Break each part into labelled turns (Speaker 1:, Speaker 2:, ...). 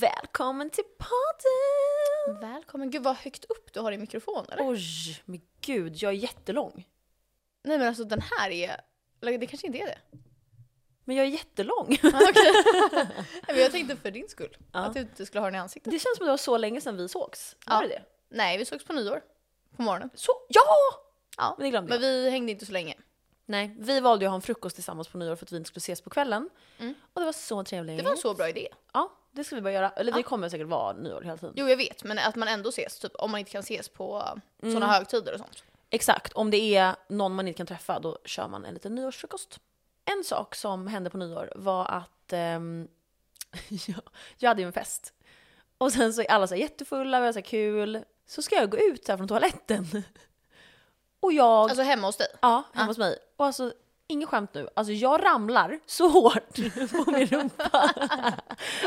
Speaker 1: Välkommen till podden!
Speaker 2: Välkommen. Gud vad högt upp du har i mikrofonen.
Speaker 1: Oj, men gud, jag är jättelång.
Speaker 2: Nej men alltså den här är... Eller det kanske inte är det.
Speaker 1: Men jag är jättelång.
Speaker 2: Ah, okej. Nej, men jag tänkte för din skull.
Speaker 1: Ja.
Speaker 2: Att du inte skulle ha den i ansiktet.
Speaker 1: Det känns som det var så länge sedan vi sågs. Var det
Speaker 2: Ja.
Speaker 1: det?
Speaker 2: Nej, vi sågs på nyår. På morgonen.
Speaker 1: Så, ja!
Speaker 2: Ja.
Speaker 1: Men det glömde
Speaker 2: Men
Speaker 1: jag.
Speaker 2: vi hängde inte så länge.
Speaker 1: Nej, vi valde ju att ha en frukost tillsammans på nyår för att vi inte skulle ses på kvällen.
Speaker 2: Mm.
Speaker 1: Och det var så trevligt.
Speaker 2: Det var en så bra idé.
Speaker 1: Ja, det ska vi börja göra. Eller vi
Speaker 2: Ja.
Speaker 1: kommer säkert vara nyår hela tiden.
Speaker 2: Jo jag vet, men att man ändå ses. Typ, om man inte kan ses på mm. sådana högtider och sånt.
Speaker 1: Exakt, om det är någon man inte kan träffa då kör man en liten nyårsfrukost. En sak som hände på nyår var att ehm, jag, jag hade ju en fest. Och sen så är alla så här jättefulla, vi har så här kul. Så ska jag gå ut här från toaletten. Och jag,
Speaker 2: Alltså hemma hos dig.
Speaker 1: ja, hemma hos mig. Och alltså, inget skämt nu, alltså jag ramlar så hårt på min rumpa.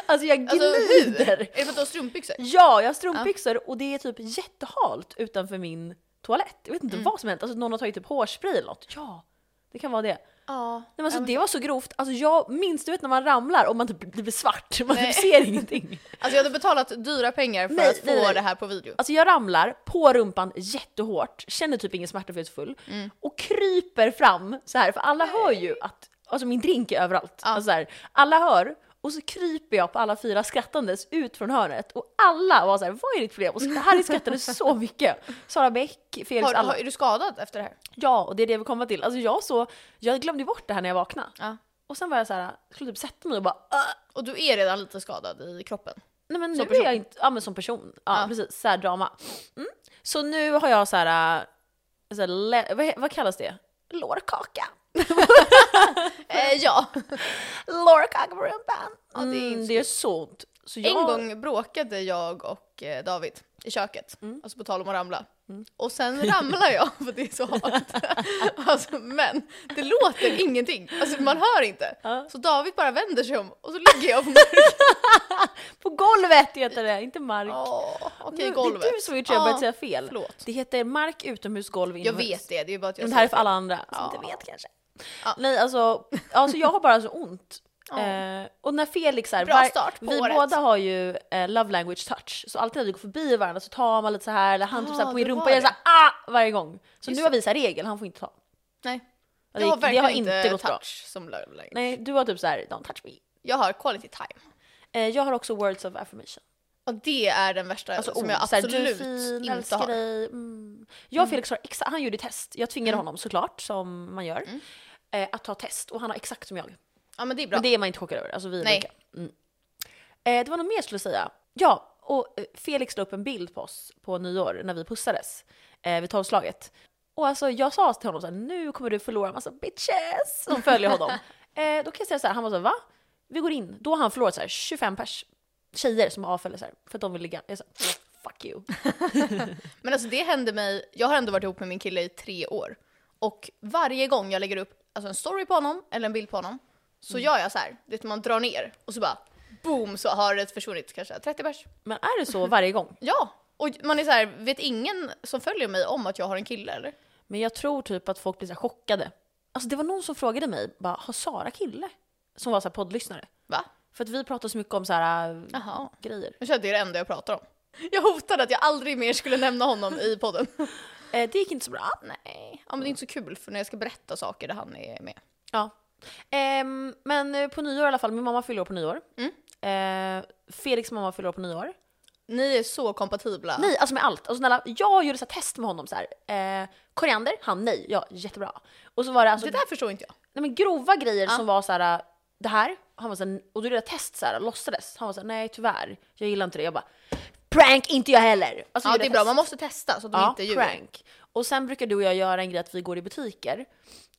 Speaker 1: alltså jag
Speaker 2: Alltså
Speaker 1: glider.
Speaker 2: Är det för att du har strumpbyxor?
Speaker 1: Typ. Ja, jag har strumpbyxor och det är typ jättehalt utanför min toalett. Jag vet inte vad som hänt, alltså någon har tagit typ hårspray eller något. Ja, det kan vara det. Nej,
Speaker 2: Ja.
Speaker 1: men alltså, det var så grovt, alltså jag minns du vet när man ramlar och man typ det blir svart, man
Speaker 2: Nej.
Speaker 1: typ ser ingenting.
Speaker 2: Alltså jag hade betalat dyra pengar för
Speaker 1: Nej,
Speaker 2: att få
Speaker 1: nej, nej.
Speaker 2: det här på video.
Speaker 1: Alltså jag ramlar på rumpan jättehårt, känner typ ingen smärta för jag är så full och kryper fram så här för alla hör ju att alltså min drink är överallt. Alltså, så här, alla hör och så kryper jag på alla fyra skrattandes ut från hörnet och alla var så här, vad är ditt problem? Och så- Harry skrattade så mycket. Sara Bäck, Felix,
Speaker 2: Har,
Speaker 1: alla.
Speaker 2: har, är du skadad efter det här?
Speaker 1: Ja, och det är det vi kommer till. Alltså jag så, jag glömde ju bort det här när jag vaknade.
Speaker 2: Ja.
Speaker 1: Och sen var jag så här, skulle typ sätta mig och bara, "Ah,
Speaker 2: Och du är redan lite skadad i kroppen?
Speaker 1: Nej men
Speaker 2: Som
Speaker 1: nu är
Speaker 2: person.
Speaker 1: jag inte, ja men som person. Ja,
Speaker 2: Ja.
Speaker 1: precis, såhär drama. Mm. Så nu har jag såhär, äh, såhär lä- vad, he- vad kallas det? Lårkaka.
Speaker 2: Eh, ja.
Speaker 1: Lårkaka på rumpan.
Speaker 2: Ja, det är
Speaker 1: Mm,
Speaker 2: inte
Speaker 1: det är så ont. Så jag,
Speaker 2: En gång bråkade jag och eh, David i köket,
Speaker 1: Mm.
Speaker 2: alltså på tal om att ramla. Och sen ramlar jag för det är så halt. alltså, men det låter ingenting, alltså, man hör inte. Så David bara vänder sig om och så ligger jag på marken.
Speaker 1: På golvet heter det, inte mark.
Speaker 2: Åh, Okej,
Speaker 1: Nu-
Speaker 2: golvet.
Speaker 1: Det är du som har gjort så jag har börjat
Speaker 2: Ja,
Speaker 1: säga fel.
Speaker 2: Förlåt.
Speaker 1: Det heter mark utomhus, golv
Speaker 2: Jag
Speaker 1: inomhus.
Speaker 2: vet det, det är bara att jag
Speaker 1: Men det här är
Speaker 2: säger
Speaker 1: för alla andra som
Speaker 2: Ja.
Speaker 1: inte vet kanske.
Speaker 2: Ja.
Speaker 1: Nej alltså, alltså jag har bara så ont.
Speaker 2: Ja.
Speaker 1: Eh, och när Felix är,
Speaker 2: Bra start på
Speaker 1: vi
Speaker 2: året.
Speaker 1: båda har ju eh, love language touch, så alltid när vi går förbi varandra så tar man lite så här eller han typ
Speaker 2: Ja,
Speaker 1: så här på min
Speaker 2: det
Speaker 1: rumpa och
Speaker 2: var
Speaker 1: jag såhär ah varje gång. Så
Speaker 2: Just
Speaker 1: nu har vi så här regel, han får inte ta.
Speaker 2: Nej,
Speaker 1: Det
Speaker 2: jag
Speaker 1: gick- Alltså,
Speaker 2: har
Speaker 1: det
Speaker 2: verkligen
Speaker 1: har
Speaker 2: inte,
Speaker 1: inte gått
Speaker 2: touch
Speaker 1: bra.
Speaker 2: som love language.
Speaker 1: Nej, du har typ så här don't touch me.
Speaker 2: Jag har quality time.
Speaker 1: Eh, jag har också words of affirmation.
Speaker 2: Och det är den värsta
Speaker 1: Alltså
Speaker 2: som
Speaker 1: ord,
Speaker 2: jag
Speaker 1: så här,
Speaker 2: absolut
Speaker 1: du är fin,
Speaker 2: inte
Speaker 1: älskar
Speaker 2: har.
Speaker 1: dig. Mm. Jag och Felix har exakt, han gjorde test, jag tvingade
Speaker 2: Mm.
Speaker 1: honom såklart som man gör, eh, att ta test och han har exakt som jag.
Speaker 2: Ja men det är bra.
Speaker 1: Men det är man inte chockad över. Alltså vi är
Speaker 2: Nej.
Speaker 1: lika. Mm. Eh, det var något mer jag skulle säga. Ja, och eh, Felix la upp en bild på oss på nyår när vi pussades eh, vid tolvslaget. Och alltså jag sa till honom så här, nu kommer du förlora en massa bitches som följer honom. eh, då kan jag säga så här, han var så här, va? Vi går in. Då har han förlorat så här 25 pers tjejer som avföljer så här, för att de vill ligga. Jag sa, fuck you.
Speaker 2: Men alltså det hände mig, jag har ändå varit ihop med min kille i tre år. Och varje gång jag lägger upp alltså en story på honom eller en bild på honom så gör jag så här, du vet man drar ner och så bara boom så har det försvunnit kanske 30 pers.
Speaker 1: Men är det så varje gång?
Speaker 2: Ja! Och man är så här, vet ingen som följer mig om att jag har en kille eller?
Speaker 1: Men jag tror typ att folk blir så här chockade. Alltså det var någon som frågade mig, bara, har Sara kille? Som var så här poddlyssnare.
Speaker 2: Va?
Speaker 1: För att vi pratar så mycket om så här äh,
Speaker 2: Jaha.
Speaker 1: grejer.
Speaker 2: Jag känner att det är det enda jag pratar om. Jag hotade att jag aldrig mer skulle nämna honom i podden.
Speaker 1: Eh, det gick inte så bra.
Speaker 2: Nej, ja, men det är inte så kul för när jag ska berätta saker där han är med.
Speaker 1: Ja. Ehm, men eh, på nyår i alla fall, min mamma fyller år på nyår. Eh, Felix mamma fyller år på nyår.
Speaker 2: Ni är så kompatibla.
Speaker 1: Nej, alltså med allt. Alltså, snälla, jag gjorde så här test med honom så här. Eh, koriander, han nej, ja jättebra. Och så var det alltså
Speaker 2: Det där förstår inte jag.
Speaker 1: nej, men grova grejer som var så här. äh, det här, han var så här, och då gjorde jag test så här, låtsades. Han var så här, nej tyvärr, jag gillar inte det. Jag bara, prank, inte jag heller. Alltså,
Speaker 2: Ja
Speaker 1: gjorde
Speaker 2: det är
Speaker 1: jag
Speaker 2: bra,
Speaker 1: test.
Speaker 2: man måste testa så att de inte ljuger.
Speaker 1: prank. Och sen brukar du och jag göra en grej att vi går i butiker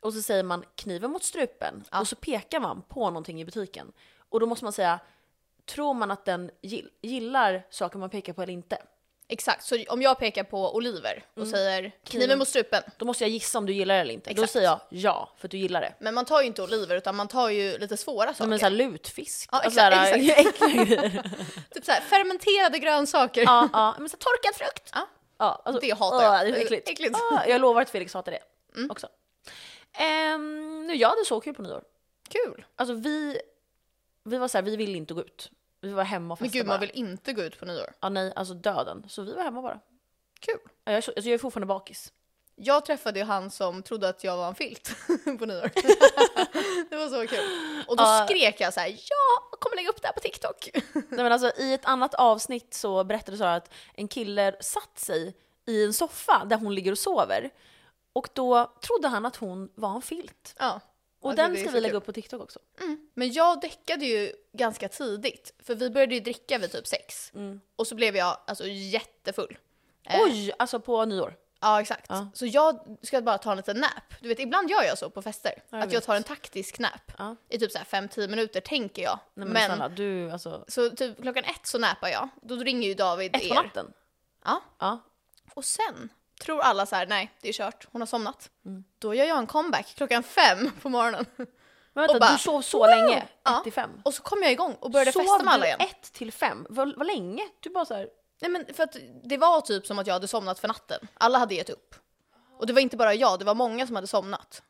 Speaker 1: och så säger man kniven mot strupen och så pekar man på någonting i butiken. Och då måste man säga, tror man att den gill- gillar saker man pekar på eller inte?
Speaker 2: Exakt, så om jag pekar på oliver och
Speaker 1: Mm.
Speaker 2: säger kniven mot strupen.
Speaker 1: Då måste jag gissa om du gillar det eller inte. Då
Speaker 2: Exakt.
Speaker 1: säger jag ja, för att du gillar det.
Speaker 2: Men man tar ju inte oliver utan man tar ju lite svåra saker.
Speaker 1: Som en sån här lutfisk.
Speaker 2: Ja,
Speaker 1: Alltså
Speaker 2: exakt,
Speaker 1: så här- äckliga grejer.
Speaker 2: Typ såhär fermenterade grönsaker.
Speaker 1: ja, ja, men så här torkad frukt.
Speaker 2: Ja.
Speaker 1: Ja, alltså,
Speaker 2: Det hatar jag.
Speaker 1: åh, Det är så äckligt.
Speaker 2: Äckligt. Mm.
Speaker 1: Ja, jag lovar att Felix hatar det också. Ehm, nu, jag hade så kul på nyår.
Speaker 2: Kul!
Speaker 1: Alltså vi, vi var så här, vi ville inte gå ut. Vi var hemma och
Speaker 2: Men
Speaker 1: festade
Speaker 2: gud,
Speaker 1: bara.
Speaker 2: man vill inte gå ut på nyår.
Speaker 1: Ja nej, alltså döden. Så vi var hemma bara.
Speaker 2: Kul.
Speaker 1: Ja, Jag är, så, alltså, jag är fortfarande bakis.
Speaker 2: Jag träffade ju han som trodde att jag var en filt på nyår. det var så kul. Och då
Speaker 1: Ja.
Speaker 2: skrek jag så här, jag kommer lägga upp det här på TikTok.
Speaker 1: Nej men alltså i ett annat avsnitt så berättade Sara att en kille satt sig i en soffa där hon ligger och sover. Och då trodde han att hon var en filt.
Speaker 2: ja.
Speaker 1: Och
Speaker 2: Ja, Alltså, det
Speaker 1: den
Speaker 2: blir
Speaker 1: ska
Speaker 2: så
Speaker 1: vi lägga
Speaker 2: kul.
Speaker 1: upp på TikTok också.
Speaker 2: Men jag däckade ju ganska tidigt, för vi började ju dricka vid typ sex.
Speaker 1: Mm.
Speaker 2: Och så blev jag alltså jättefull. Eh,
Speaker 1: Oj! Alltså på nyår.
Speaker 2: Ja, exakt.
Speaker 1: Ja.
Speaker 2: Så jag ska bara ta en liten nap. Du vet, ibland gör jag så på fester.
Speaker 1: Ja, jag
Speaker 2: att jag
Speaker 1: vet.
Speaker 2: tar en taktisk nap.
Speaker 1: Ja.
Speaker 2: I typ så här 5-10 minuter, tänker jag.
Speaker 1: Nej men,
Speaker 2: men
Speaker 1: snälla, du alltså.
Speaker 2: så typ klockan ett så napar jag. Då ringer ju David
Speaker 1: Ett på
Speaker 2: er.
Speaker 1: natten?
Speaker 2: Ja.
Speaker 1: Ja.
Speaker 2: Och sen tror alla så här, nej, det är kört. Hon har somnat.
Speaker 1: Mm.
Speaker 2: Då gör jag en comeback klockan fem på morgonen.
Speaker 1: Men vänta,
Speaker 2: Och bara,
Speaker 1: du sov så
Speaker 2: "Wow!"
Speaker 1: länge? Ett
Speaker 2: Ja.
Speaker 1: till fem?
Speaker 2: Och så kom jag igång och började
Speaker 1: Sov
Speaker 2: festa med alla
Speaker 1: du
Speaker 2: igen.
Speaker 1: ett till fem? Vad, vad länge? Du bara såhär,
Speaker 2: Nej men för att det var typ som att jag hade somnat för natten. Alla hade gett upp. Och det var inte bara jag, det var många som hade somnat.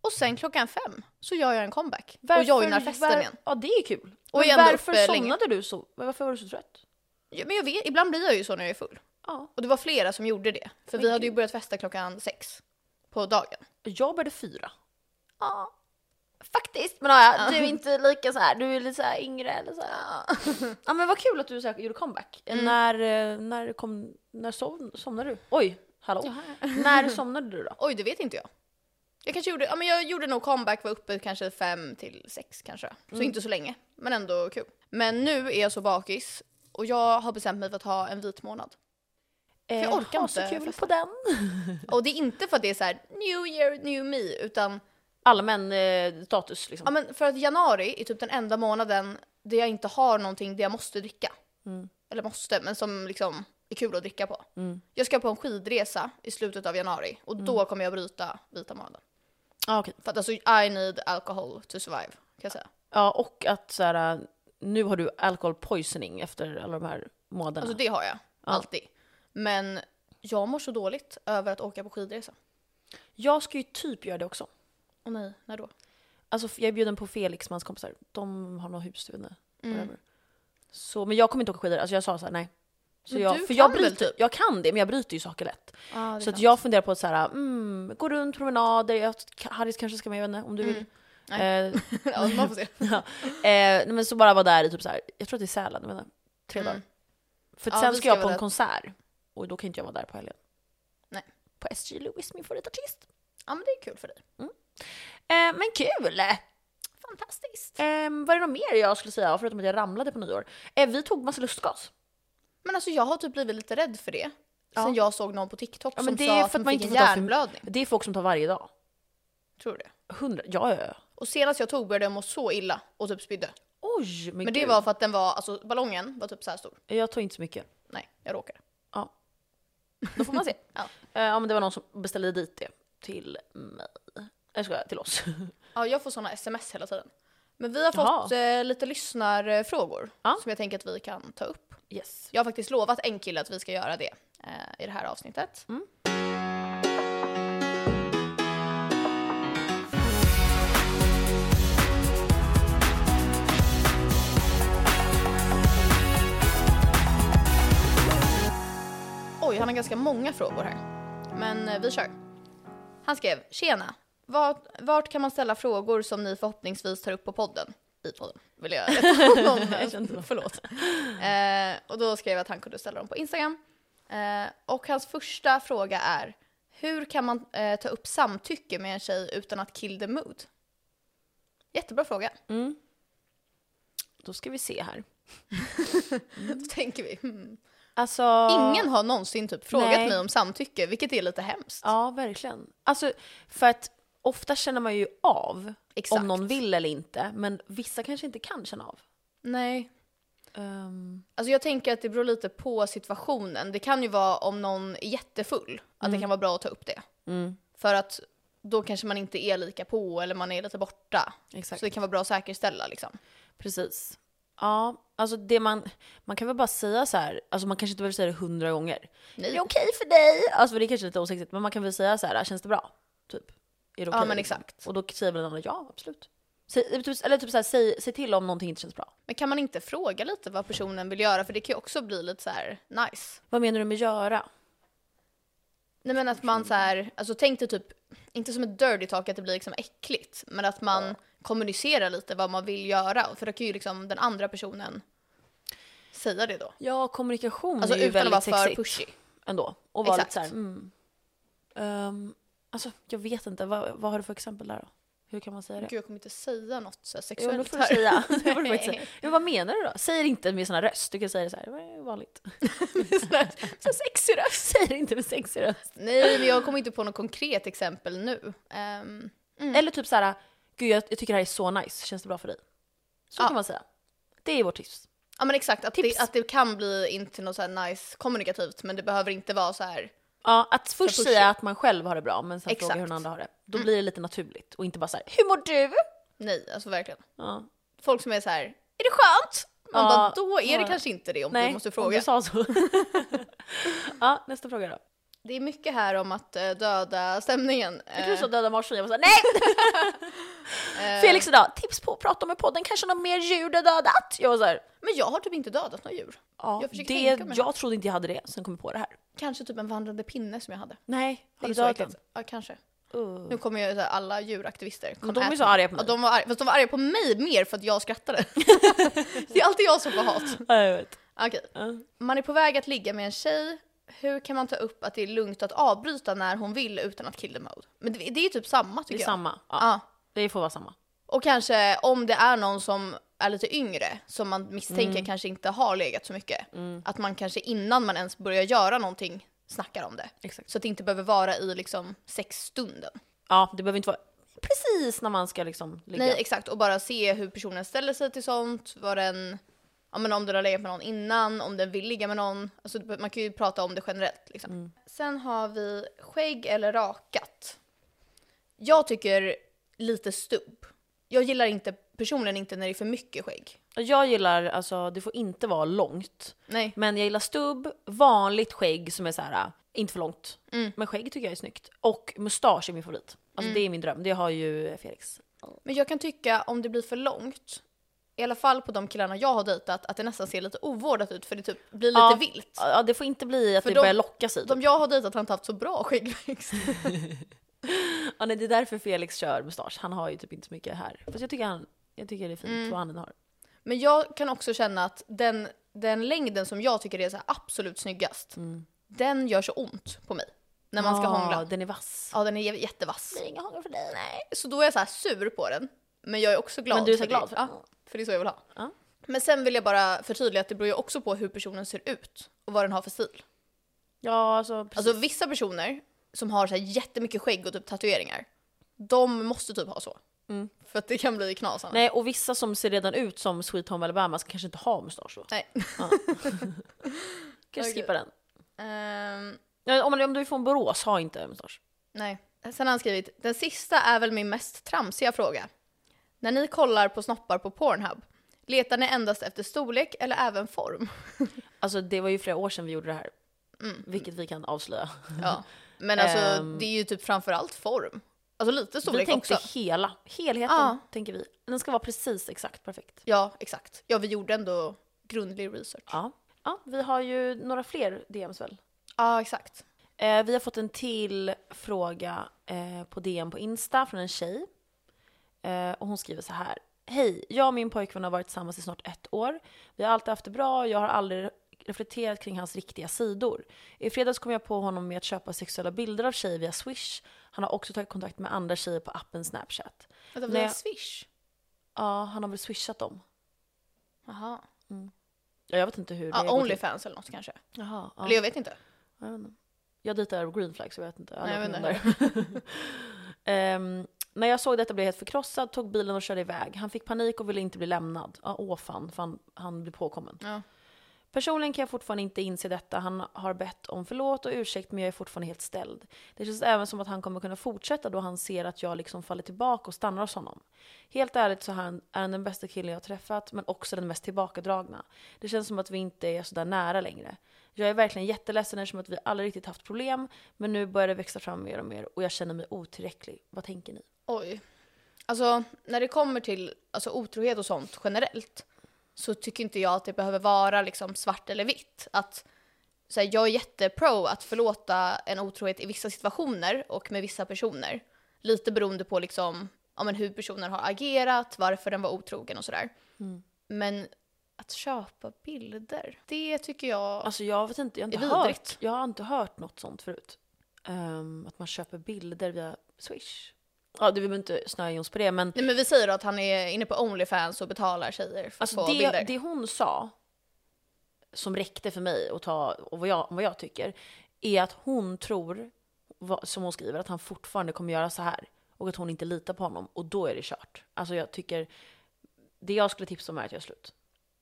Speaker 2: Och
Speaker 1: Mm.
Speaker 2: sen klockan fem så gör jag en comeback och joinar festen
Speaker 1: var-
Speaker 2: igen.
Speaker 1: Ja det är kul.
Speaker 2: Och
Speaker 1: Men
Speaker 2: är ändå
Speaker 1: varför
Speaker 2: uppe länge.
Speaker 1: somnade du så? men Varför var du så trött?
Speaker 2: Ja, Men jag vet, ibland blir jag ju så när jag är full.
Speaker 1: Ja.
Speaker 2: Och det var flera som gjorde det. För vi
Speaker 1: Men
Speaker 2: hade ju
Speaker 1: gud.
Speaker 2: börjat festa klockan sex på dagen.
Speaker 1: Jag började fyra.
Speaker 2: Ja.
Speaker 1: Faktiskt, men ja, du är inte lika så här. du är lite så här yngre eller så här.
Speaker 2: ja.
Speaker 1: Ja men vad kul att du så här, gjorde comeback. När, eh, när, kom, när sov, somnade du? Oj, hallå? När somnade du då?
Speaker 2: Oj, det vet inte jag. Jag kanske gjorde, ja men jag gjorde nog comeback, var uppe kanske fem till sex kanske. Så inte så länge, men ändå kul. Men nu är jag så bakis och jag har bestämt mig för att ha en vit månad.
Speaker 1: Eh,
Speaker 2: jag orkar
Speaker 1: ha så
Speaker 2: inte
Speaker 1: kul
Speaker 2: festa.
Speaker 1: på den.
Speaker 2: Och det är inte för att det är så här new year, new me, utan
Speaker 1: Allmän eh, status liksom.
Speaker 2: ja, men för att januari är typ den enda månaden där jag inte har någonting där jag måste dricka.
Speaker 1: Mm,
Speaker 2: Eller måste, men som liksom är kul att dricka på. Jag ska på en skidresa i slutet av januari och då
Speaker 1: Mm.
Speaker 2: kommer jag bryta vita månaden.
Speaker 1: Ja, okej.
Speaker 2: För att alltså I need alcohol to survive, kan jag säga.
Speaker 1: ja och att så här, eh, nu har du alcohol poisoning efter alla de här månaderna.
Speaker 2: Alltså det har jag, alltid. Men jag mår så dåligt över att åka på skidresa.
Speaker 1: Jag ska ju typ göra det också.
Speaker 2: Åh nej, när då?
Speaker 1: Alltså jag är bjuden på Felix med hans kompisar. De har något hus, du vet inte.
Speaker 2: Mm.
Speaker 1: Whatever. Så, men jag kommer inte åka skidor, alltså jag sa såhär nej. Så
Speaker 2: Men
Speaker 1: jag,
Speaker 2: du
Speaker 1: för jag,
Speaker 2: kan väl
Speaker 1: bryter,
Speaker 2: typ?
Speaker 1: jag kan det, men jag bryter ju saker lätt.
Speaker 2: Ah,
Speaker 1: Så att jag funderar på att så här, mm, gå runt promenader, jag, Harris kanske ska med, jag vet inte, om du vill. Eh,
Speaker 2: Mm. ja, man får se.
Speaker 1: ja. eh, nej, men så bara vara där i typ så här, jag tror att det är Sälen, jag vet inte, tre
Speaker 2: Mm.
Speaker 1: dagar. För
Speaker 2: Ja,
Speaker 1: sen
Speaker 2: vi
Speaker 1: ska
Speaker 2: ska
Speaker 1: jag
Speaker 2: vara
Speaker 1: på en
Speaker 2: där.
Speaker 1: konsert och då kan inte jag vara där på helgen.
Speaker 2: Nej.
Speaker 1: På SG Lewis, min favoritartist.
Speaker 2: Ja men det är kul för dig.
Speaker 1: Eh, men kul!
Speaker 2: Fantastiskt.
Speaker 1: Ehm, var det något mer jag skulle säga, förutom att jag ramlade på nyår? Eh, vi tog massa lustgas.
Speaker 2: Men alltså jag har typ blivit lite rädd för det.
Speaker 1: Ja.
Speaker 2: Sen jag såg någon på TikTok
Speaker 1: Ja, men
Speaker 2: som
Speaker 1: det är
Speaker 2: sa
Speaker 1: för
Speaker 2: att
Speaker 1: att
Speaker 2: hon
Speaker 1: man
Speaker 2: fick
Speaker 1: inte
Speaker 2: en
Speaker 1: får ta för-
Speaker 2: hjärnblödning.
Speaker 1: Det är folk som tar varje dag.
Speaker 2: Tror du det?
Speaker 1: Hundra, ja ja ja.
Speaker 2: Och senast jag tog började jag må så illa och typ spydde.
Speaker 1: Oj! Men,
Speaker 2: Men det
Speaker 1: gud.
Speaker 2: var för att den var, alltså ballongen var typ så här stor.
Speaker 1: Jag tog inte så mycket.
Speaker 2: Nej, jag råkade.
Speaker 1: Ja. Då får man se.
Speaker 2: Ja.
Speaker 1: Eh, ja men det var någon som beställde dit det. Till mig. Jag skojar, till oss.
Speaker 2: Ja, jag får såna sms hela tiden. Men vi har
Speaker 1: Jaha.
Speaker 2: fått eh, lite lyssnarfrågor
Speaker 1: Ja.
Speaker 2: som jag tänker att vi kan ta upp.
Speaker 1: Yes.
Speaker 2: Jag har faktiskt lovat en kille att vi ska göra det eh, i det här avsnittet.
Speaker 1: Mm.
Speaker 2: Oj, han har ganska många frågor här. Men eh, vi kör. Han skrev, tjena. Vart, vart kan man ställa frågor som ni förhoppningsvis tar upp på podden? I podden, vill jag rätta honom.
Speaker 1: Jag kände det.
Speaker 2: Förlåt. Eh, och då skrev jag att han kunde ställa dem på Instagram. Eh, och hans första fråga är, hur kan man eh, ta upp samtycke med en tjej utan att kill the mood? Jättebra fråga.
Speaker 1: Mm. Då ska vi se här. Mm.
Speaker 2: Då tänker vi. hmm.
Speaker 1: Alltså...
Speaker 2: Ingen har någonsin typ frågat
Speaker 1: Nej.
Speaker 2: mig om samtycke, vilket är lite hemskt.
Speaker 1: Ja verkligen. Alltså för att ofta känner man ju av
Speaker 2: Exakt.
Speaker 1: om någon vill eller inte. Men vissa kanske inte kan känna av.
Speaker 2: Nej.
Speaker 1: Ehm,
Speaker 2: Alltså jag tänker att det beror lite på situationen. Det kan ju vara om någon är jättefull, att det kan vara bra att ta upp det.
Speaker 1: Mm.
Speaker 2: För att då kanske man inte är lika på eller man är lite borta.
Speaker 1: exakt.
Speaker 2: Så det kan vara bra att säkerställa liksom.
Speaker 1: Precis. Ja, alltså det man, man kan väl bara säga så här, alltså man kanske inte behöver säga det hundra gånger.
Speaker 2: Nej.
Speaker 1: Det är okej för dig! Alltså för det är kanske är lite osexigt, men man kan väl säga så här, känns det bra? Typ. Är det okej?
Speaker 2: men exakt.
Speaker 1: Och då säger väl den andra ja, absolut. Säg, typ- eller typ såhär, säg, säg till om någonting inte känns bra.
Speaker 2: Men kan man inte fråga lite vad personen vill göra? För det kan ju också bli lite så här nice.
Speaker 1: Vad menar du med göra?
Speaker 2: Nej men att man så här, alltså tänk dig typ, inte som ett dirty talk att det blir liksom äckligt, men att man kommunicerar lite vad man vill göra. För då kan ju liksom den andra personen säga det då.
Speaker 1: Ja, kommunikation
Speaker 2: Alltså
Speaker 1: är ju
Speaker 2: utan att
Speaker 1: väldigt
Speaker 2: vara för
Speaker 1: sexigt
Speaker 2: pushy.
Speaker 1: ändå. Och vara lite
Speaker 2: Exakt.
Speaker 1: såhär, mm. Ehm, alltså jag vet inte, vad, vad har du för exempel där då? Hur kan man säga det?
Speaker 2: Gud jag kommer inte säga något så här
Speaker 1: Jo,
Speaker 2: sexuellt
Speaker 1: då får du
Speaker 2: här.
Speaker 1: säga. Det får du faktiskt säga.
Speaker 2: Nej.
Speaker 1: Men vad menar du då? Säg det inte med sån här röst. Du kan säga det så här, vad är vanligt?
Speaker 2: Sån här-
Speaker 1: Så sexig röst. Säg det inte med sexig röst.
Speaker 2: Nej men jag kommer inte på något konkret exempel nu. Ehm,
Speaker 1: Eller typ så här, gud jag, jag tycker det här är så nice, känns det bra för dig? Så
Speaker 2: Ja.
Speaker 1: kan man säga. Det är vårt tips.
Speaker 2: ja men exakt, att
Speaker 1: Tips.
Speaker 2: det, att det kan bli inte något så här nice kommunikativt men det behöver inte vara så här
Speaker 1: Ja, att först
Speaker 2: pusha.
Speaker 1: säga att man själv har det bra men sen fråga hur
Speaker 2: Exakt. Mm.
Speaker 1: den andra har det. Då blir det lite naturligt och inte bara så här, hur mår du?
Speaker 2: nej, alltså verkligen.
Speaker 1: Ja.
Speaker 2: Folk som är så här, är det skönt? Man
Speaker 1: Ja,
Speaker 2: bara, då är det
Speaker 1: ja.
Speaker 2: kanske inte det om
Speaker 1: Nej,
Speaker 2: du måste
Speaker 1: om
Speaker 2: fråga.
Speaker 1: du sa så. ja, nästa fråga då.
Speaker 2: Det är mycket här om att eh, döda stämningen.
Speaker 1: Jag
Speaker 2: Eh,
Speaker 1: trodde du sa döda marsvin, jag var såhär nej!
Speaker 2: eh,
Speaker 1: Felix idag, tips på att prata om i podden, kanske något mer djur du dödat? Jag var såhär,
Speaker 2: Men jag har typ inte dödat några djur.
Speaker 1: ja,
Speaker 2: Jag försöker
Speaker 1: det,
Speaker 2: tänka mig.
Speaker 1: jag trodde inte jag hade det, sen kom jag på det här.
Speaker 2: Kanske typ en vandrande pinne som jag hade.
Speaker 1: Nej,
Speaker 2: Det
Speaker 1: har
Speaker 2: är
Speaker 1: du
Speaker 2: så
Speaker 1: dödat den?
Speaker 2: äckligt. Ja, kanske.
Speaker 1: Uh.
Speaker 2: Nu kommer ju så här, alla djuraktivister.
Speaker 1: Men
Speaker 2: Kom,
Speaker 1: de är
Speaker 2: ät
Speaker 1: så
Speaker 2: mig.
Speaker 1: arga på
Speaker 2: Ja,
Speaker 1: mig.
Speaker 2: de var arga, fast de var arga på mig mer för att jag skrattade. det är alltid jag som får hat.
Speaker 1: Ja, jag vet.
Speaker 2: Okej.
Speaker 1: Ja.
Speaker 2: Man är på väg att ligga med en tjej. Hur kan man ta upp att det är lugnt att avbryta när hon vill utan att kill the mode? Men det, det är ju typ samma
Speaker 1: Det
Speaker 2: tycker
Speaker 1: är
Speaker 2: jag.
Speaker 1: samma. Ja,
Speaker 2: Ja.
Speaker 1: Det får vara samma.
Speaker 2: Och kanske om det är någon som är lite yngre, som man misstänker
Speaker 1: Mm.
Speaker 2: kanske inte har legat så mycket. Att man kanske innan man ens börjar göra någonting snackar om det.
Speaker 1: Exakt.
Speaker 2: Så att det inte behöver vara i liksom sexstunden.
Speaker 1: Ja, det behöver inte vara precis när man ska liksom ligga.
Speaker 2: Nej exakt, och bara se hur personen ställer sig till sånt, vad den, ja men om den har legat med någon innan, om den vill ligga med någon. Alltså det- man kan ju prata om det generellt liksom. Sen har vi skägg eller rakat. Jag tycker lite stubb. Jag gillar inte, personligen inte när det är för mycket skägg.
Speaker 1: Jag gillar, alltså det får inte vara långt.
Speaker 2: Nej.
Speaker 1: Men jag gillar stubb, vanligt skägg som är så här, äh, inte för långt.
Speaker 2: Mm.
Speaker 1: Men skägg tycker jag är snyggt. Och mustasch är min favorit. Alltså det är min dröm, det har ju Felix.
Speaker 2: Men jag kan tycka om det blir för långt, i alla fall på de killarna jag har dejtat, att det nästan ser lite ovårdat ut för det typ blir lite
Speaker 1: Ja.
Speaker 2: vilt.
Speaker 1: Ja, det får inte bli att
Speaker 2: För
Speaker 1: det
Speaker 2: de-
Speaker 1: börjar locka sig. typ.
Speaker 2: De jag har dejtat har inte haft så bra skäggväxt.
Speaker 1: Ja, nej, det är därför Felix kör mustasch, han har ju typ inte så mycket här. Fast jag tycker, han, jag tycker det är fint
Speaker 2: Mm.
Speaker 1: vad han har.
Speaker 2: Men jag kan också känna att den, den längden som jag tycker är så här absolut snyggast, den gör så ont på mig när man ska
Speaker 1: Mm. Ja,
Speaker 2: hångla.
Speaker 1: Den är vass.
Speaker 2: Ja, den är jättevass.
Speaker 1: Det är inga hångel för dig. Nej.
Speaker 2: Så då är jag så här sur på den, men jag är också glad.
Speaker 1: Men du är så
Speaker 2: för
Speaker 1: glad
Speaker 2: det.
Speaker 1: för
Speaker 2: Ja,
Speaker 1: den.
Speaker 2: för det är så jag vill ha.
Speaker 1: Ja.
Speaker 2: Men sen vill jag bara förtydliga att det beror ju också på hur personen ser ut och vad den har för stil.
Speaker 1: Ja, alltså, precis.
Speaker 2: Alltså vissa personer som har så här jättemycket skägg och typ tatueringar, de måste typ ha så.
Speaker 1: Mm.
Speaker 2: För att det kan bli knas annars.
Speaker 1: Nej, och vissa som ser redan ut som Sweet Home Alabama ska kanske inte ha mustasch då.
Speaker 2: Nej.
Speaker 1: Kanske
Speaker 2: Okej.
Speaker 1: skippa den.
Speaker 2: Ehm,
Speaker 1: Ja, Om, om du är från Borås, ha inte mustasch.
Speaker 2: nej. Sen har han skrivit, den sista är väl min mest tramsiga fråga. När ni kollar på snoppar på Pornhub, letar ni endast efter storlek eller även form?
Speaker 1: Alltså det var ju flera år sedan vi gjorde det här.
Speaker 2: Mm.
Speaker 1: Vilket vi kan avslöja.
Speaker 2: Ja. Men alltså
Speaker 1: Ehm.
Speaker 2: det är ju typ framförallt form. Alltså lite
Speaker 1: Vi
Speaker 2: storlek
Speaker 1: tänkte
Speaker 2: också.
Speaker 1: hela, helheten
Speaker 2: Ja.
Speaker 1: tänker vi. Den ska vara precis exakt perfekt.
Speaker 2: Ja, exakt. Ja, vi gjorde ändå grundlig research. Ja,
Speaker 1: Ja. ja, vi har ju några fler DMs väl?
Speaker 2: exakt.
Speaker 1: Eh, vi har fått en till fråga eh, på DM på Insta från en tjej. Eh, och hon skriver så här. Hej, jag och min pojkvän har varit tillsammans i snart ett år. Vi har alltid haft det bra och jag har aldrig reflekterat kring hans riktiga sidor. I fredags kom jag på honom med att köpa sexuella bilder av tjejer via Swish. Han har också tagit kontakt med andra tjejer på appen Snapchat.
Speaker 2: Vänta,
Speaker 1: Nej.
Speaker 2: vi har swish.
Speaker 1: Ja, han har väl swishat dem.
Speaker 2: Jaha.
Speaker 1: Ja, jag vet inte hur det
Speaker 2: Ja,
Speaker 1: går till.
Speaker 2: Onlyfans eller något kanske.
Speaker 1: Jaha, ja.
Speaker 2: Eller jag vet inte.
Speaker 1: Jag vet inte. Jag dejtar green flag så jag vet inte. Jag har
Speaker 2: Nej, jag
Speaker 1: aldrig varit med om det. Ehm, när jag såg detta blev jag helt förkrossad, tog bilen och körde iväg. Han fick panik och ville inte bli lämnad. Ja, åh fan, för han, han blev påkommen.
Speaker 2: Ja.
Speaker 1: Personligen kan jag fortfarande inte inse detta. Han har bett om förlåt och ursäkt men jag är fortfarande helt ställd. Det känns även som att han kommer kunna fortsätta då han ser att jag liksom faller tillbaka och stannar hos honom. Helt ärligt så är han, är han den bästa killen jag har träffat men också den mest tillbakadragna. Det känns som att vi inte är sådär nära längre. Jag är verkligen jätteledsen eftersom att vi aldrig riktigt haft problem men nu börjar det växa fram mer och mer och jag känner mig otillräcklig. Vad tänker ni?
Speaker 2: Oj. Alltså när det kommer till alltså, otrohet och sånt generellt så tycker inte jag att det behöver vara liksom svart eller vitt. Att, så här, jag är jättepro att förlåta en otrohet i vissa situationer och med vissa personer. Lite beroende på liksom, ja, men hur personen har agerat, varför den var otrogen och sådär.
Speaker 1: Mm.
Speaker 2: Men att köpa bilder, det tycker jag...
Speaker 1: Alltså jag vet inte, jag har inte,
Speaker 2: Det är
Speaker 1: hört,
Speaker 2: vidrigt.
Speaker 1: jag har inte hört något sånt förut. Ehm, att man köper bilder via Swish. Ja, det vill väl inte snöa in oss på det, men
Speaker 2: Nej men vi säger då att han är inne på Onlyfans och betalar tjejer för
Speaker 1: alltså
Speaker 2: att få
Speaker 1: det,
Speaker 2: bilder.
Speaker 1: det hon sa som räckte för mig att ta, och vad jag, vad jag tycker, är att hon tror, vad- som hon skriver, att han fortfarande kommer göra så här. Och att hon inte litar på honom, och då är det kört. Alltså jag tycker, det jag skulle tipsa om är att göra slut.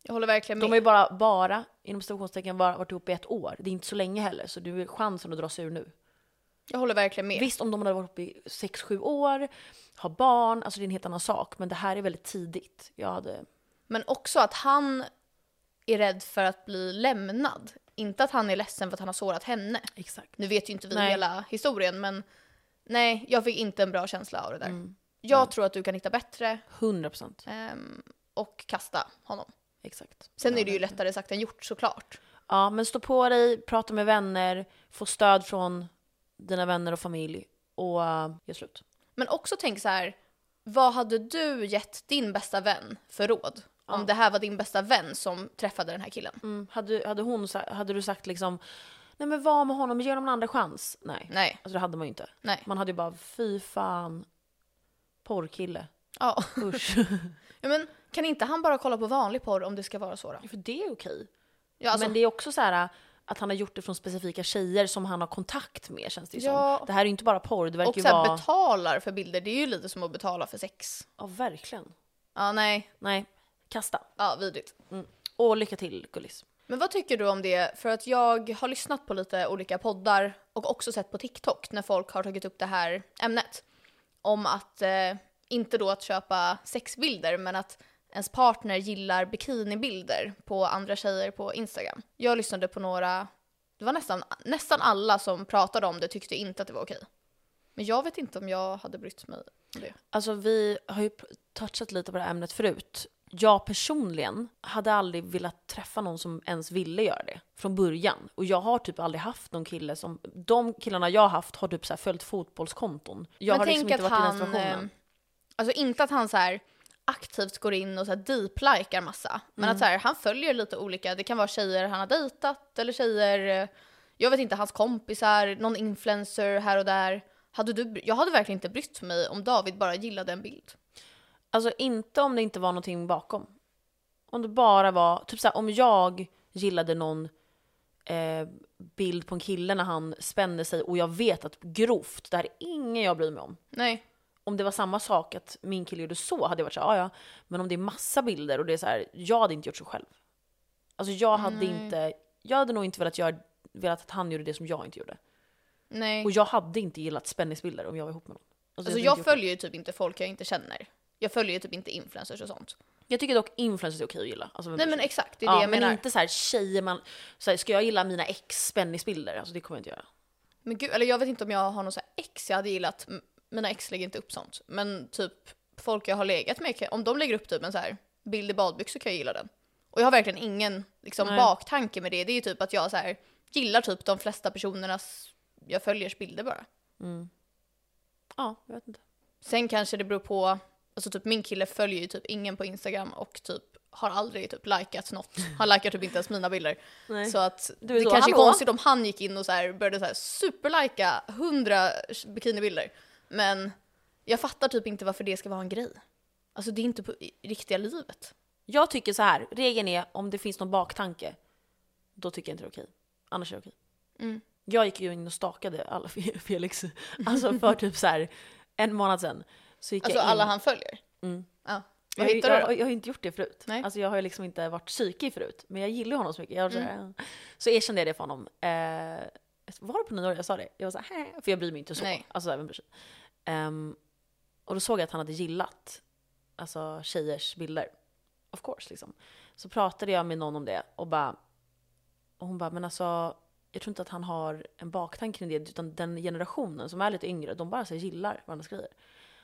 Speaker 2: Jag håller verkligen med.
Speaker 1: De har ju bara, bara, inom citationstecken, bara varit ihop i ett år. Det är inte så länge heller, så du har chansen att dra sig ur nu.
Speaker 2: Jag håller verkligen med.
Speaker 1: Visst, om de hade varit uppe i 6-7 år, har barn, alltså det är en helt annan sak. Men det här är väldigt tidigt. Jag hade...
Speaker 2: Men också att han är rädd för att bli lämnad. Inte att han är ledsen för att han har sårat henne.
Speaker 1: Exakt.
Speaker 2: Nu vet ju inte vi
Speaker 1: Nej.
Speaker 2: hela historien men nej, jag fick inte en bra känsla av det där.
Speaker 1: Mm.
Speaker 2: Jag tror att du kan hitta bättre
Speaker 1: 100 procent.
Speaker 2: ehm, och kasta honom.
Speaker 1: Exakt.
Speaker 2: Sen
Speaker 1: Ja,
Speaker 2: är det ju lättare sagt än gjort såklart.
Speaker 1: Ja, men stå på dig, prata med vänner, få stöd från dina vänner och familj och uh, gör slut.
Speaker 2: Men också tänk så här, vad hade du gett din bästa vän för råd? Om det här var din bästa vän som träffade den här killen.
Speaker 1: Mm. Hade, hade, hon, sa- hade du sagt liksom, nej men var med honom, ge honom en andra chans. Nej.
Speaker 2: Nej,
Speaker 1: Alltså det hade man ju inte.
Speaker 2: nej.
Speaker 1: Man hade ju bara, fy fan, porrkille.
Speaker 2: Ja.
Speaker 1: Usch.
Speaker 2: ja men kan inte han bara kolla på vanlig porr om det ska vara så då?
Speaker 1: För det är okej.
Speaker 2: Ja, alltså,
Speaker 1: Men det är också så här äh, att han har gjort det från specifika tjejer som han har kontakt med känns det ju
Speaker 2: Ja.
Speaker 1: som. Det här är ju inte bara porr, det
Speaker 2: och
Speaker 1: verkar
Speaker 2: så
Speaker 1: ju
Speaker 2: här,
Speaker 1: vara...
Speaker 2: betalar för bilder, det är ju lite som att betala för sex.
Speaker 1: Ja, verkligen.
Speaker 2: Ja, nej.
Speaker 1: Nej, kasta.
Speaker 2: Ja, vidrigt.
Speaker 1: Och lycka till, Gullis.
Speaker 2: Men vad tycker du om det? För att jag har lyssnat på lite olika poddar och också sett på TikTok när folk har tagit upp det här ämnet. Om att, eh, inte då att köpa sexbilder, men att ens partner gillar bikinibilder på andra tjejer på Instagram. Jag lyssnade på några, det var nästan, nästan alla som pratade om det tyckte inte att det var okej. Men jag vet inte om jag hade brytt mig om det.
Speaker 1: Alltså vi har ju pr- touchat lite på det här ämnet förut. Jag personligen hade aldrig velat träffa någon som ens ville göra det från början. Och jag har typ aldrig haft någon kille som... De killarna jag har haft har typ så här följt fotbollskonton. Jag har liksom inte varit i den situationen.
Speaker 2: eh, Alltså inte att han så här aktivt går in och så här deep-likar massa. Men
Speaker 1: Mm.
Speaker 2: att så här, han följer lite olika, det kan vara tjejer han har dejtat eller tjejer, eh, jag vet inte, hans kompisar, någon influencer här och där. Hade du, bry- jag hade verkligen inte brytt mig om David bara gillade en bild.
Speaker 1: Alltså inte om det inte var någonting bakom. Om det bara var, typ såhär om jag gillade någon eh, bild på en kille när han spänner sig och jag vet att grovt, det här är ingen jag bryr mig om.
Speaker 2: Nej,
Speaker 1: Om det var samma sak att min kille gjorde så hade jag varit såhär, "Ah, ja Men om det är massa bilder och det är så här, jag hade inte gjort så själv. Alltså jag hade inte, jag hade nog inte velat, göra, velat att han gjorde det som jag inte gjorde.
Speaker 2: nej.
Speaker 1: Och jag hade inte gillat spänningsbilder om jag var ihop med någon. Alltså,
Speaker 2: Alltså
Speaker 1: hade inte
Speaker 2: jag
Speaker 1: gjort
Speaker 2: följer ju typ inte folk jag inte känner. Jag följer ju typ inte influencers och sånt.
Speaker 1: det. jag tycker dock influencers är okej att gilla. Alltså, vem
Speaker 2: Nej
Speaker 1: bryr
Speaker 2: men
Speaker 1: sig?
Speaker 2: exakt, det är
Speaker 1: ja,
Speaker 2: det jag
Speaker 1: men
Speaker 2: menar.
Speaker 1: inte så här tjejer man... Så här, ska jag gilla mina ex spännisbilder? Alltså det kommer jag inte göra.
Speaker 2: Men gud, eller jag vet inte om jag har någon så här ex jag hade gillat. M- Mina ex lägger inte upp sånt. Men typ folk jag har legat med, kan- om de lägger upp typ en så här bild i badbyxor kan jag gilla den. Och jag har verkligen ingen liksom,
Speaker 1: Nej.
Speaker 2: baktanke med det. Det är ju typ att jag så här, gillar typ de flesta personernas jag följers bilder bara. Mm.
Speaker 1: Ja, jag vet inte.
Speaker 2: Sen kanske det beror på, alltså typ min kille följer ju typ ingen på Instagram och typ har aldrig typ likat något. Han likar typ inte ens mina bilder.
Speaker 1: Nej.
Speaker 2: Så att
Speaker 1: Du är
Speaker 2: det
Speaker 1: så,
Speaker 2: kanske
Speaker 1: "Hallå?"
Speaker 2: är konstigt om han gick in och så här började så här superlika hundra bikinibilder. Men jag fattar typ inte varför det ska vara en grej. Alltså det är inte på i riktiga livet.
Speaker 1: Jag tycker så här, regeln är om det finns någon baktanke, då tycker jag inte det är okej. Annars är det okej. Mm. Jag gick ju in och stakade alla Felix, alltså för typ så här en månad sedan. Så gick
Speaker 2: Alltså
Speaker 1: jag in. Mm.
Speaker 2: alla han följer. Ja.
Speaker 1: jag,
Speaker 2: Vad
Speaker 1: har ju-
Speaker 2: hittar du
Speaker 1: jag,
Speaker 2: då?
Speaker 1: jag har ju inte gjort det förut.
Speaker 2: Nej.
Speaker 1: Alltså jag har ju liksom inte varit psykig förut. Men jag gillar ju honom så mycket. Jag var
Speaker 2: Mm.
Speaker 1: så, här, "Ah." så erkände jag det för honom. Eh, var det på nyår jag sa det? Jag var så här, "Hä?" för jag bryr mig inte så.
Speaker 2: Nej.
Speaker 1: Alltså, vem bryr sig? Ehm, och då såg jag att han hade gillat alltså, tjejers bilder. Of course liksom. Så pratade jag med någon om det och bara, och hon bara, men alltså jag tror inte att han har en baktanke kring det, utan den generationen som är lite yngre, de bara så här, gillar varandras grejer.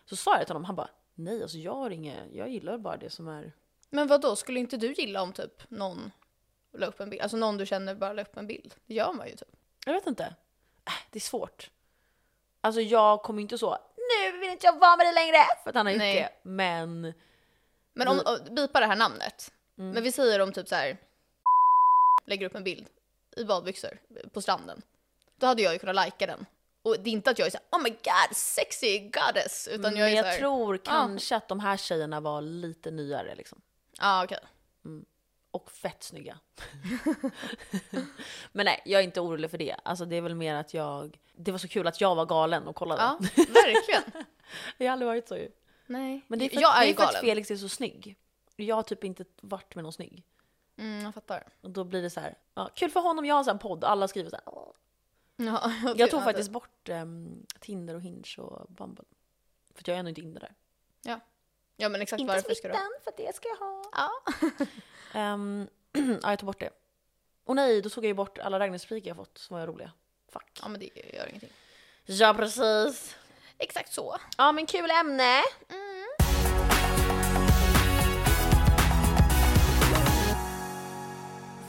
Speaker 1: Så sa jag till honom, han bara, Nej, alltså jag har inget, jag gillar bara det som är...
Speaker 2: Men vad då skulle inte du gilla om typ någon la upp en bild? Alltså någon du känner bara la upp en bild. Det gör man ju typ.
Speaker 1: Jag vet inte. Äh, det är svårt. Alltså jag kommer inte så, nu vill inte jag vara med dig längre! För att han har gjort
Speaker 2: Nej.
Speaker 1: det. Men
Speaker 2: Men om, och, bipa det här namnet.
Speaker 1: Mm.
Speaker 2: Men vi säger om typ så här lägger upp en bild i badbyxor på stranden. Då hade jag ju kunnat lajka den. Och det är inte att jag är såhär oh my god sexy goddess utan jag
Speaker 1: Mm, men jag
Speaker 2: är "Ah." såhär,
Speaker 1: tror kanske att de här tjejerna var lite nyare liksom.
Speaker 2: ah, okej.
Speaker 1: Och fett snygga. men nej, jag är inte orolig för det. Alltså det är väl mer att jag... Det var så kul att jag var galen och kollade.
Speaker 2: Ja, verkligen.
Speaker 1: Jag har aldrig varit så ju.
Speaker 2: Nej.
Speaker 1: Men det är för,
Speaker 2: jag är
Speaker 1: det
Speaker 2: ju
Speaker 1: är för att
Speaker 2: galen.
Speaker 1: Felix är så snygg. Jag har typ inte varit med någon snygg.
Speaker 2: Mm, jag fattar.
Speaker 1: Och då blir det så här, ja, kul för honom, jag har så här en podd, alla skriver så här. "Åh."
Speaker 2: Ja,
Speaker 1: Jag tog
Speaker 2: ja,
Speaker 1: faktiskt bort ehm, Tinder och Hinge och Bumble. För att jag är ändå inte inne där.
Speaker 2: Ja men exakt
Speaker 1: Inte
Speaker 2: varför ska du ha?
Speaker 1: smittan, för det ska jag ha.
Speaker 2: Ja.
Speaker 1: Ehm, ja, jag tog bort det. Och nej, då tog jag ju bort alla raggningsrepliker jag fått som var roliga. Fuck.
Speaker 2: ja men det gör ingenting.
Speaker 1: Ja, precis.
Speaker 2: Exakt så.
Speaker 1: Ja, men kul ämne.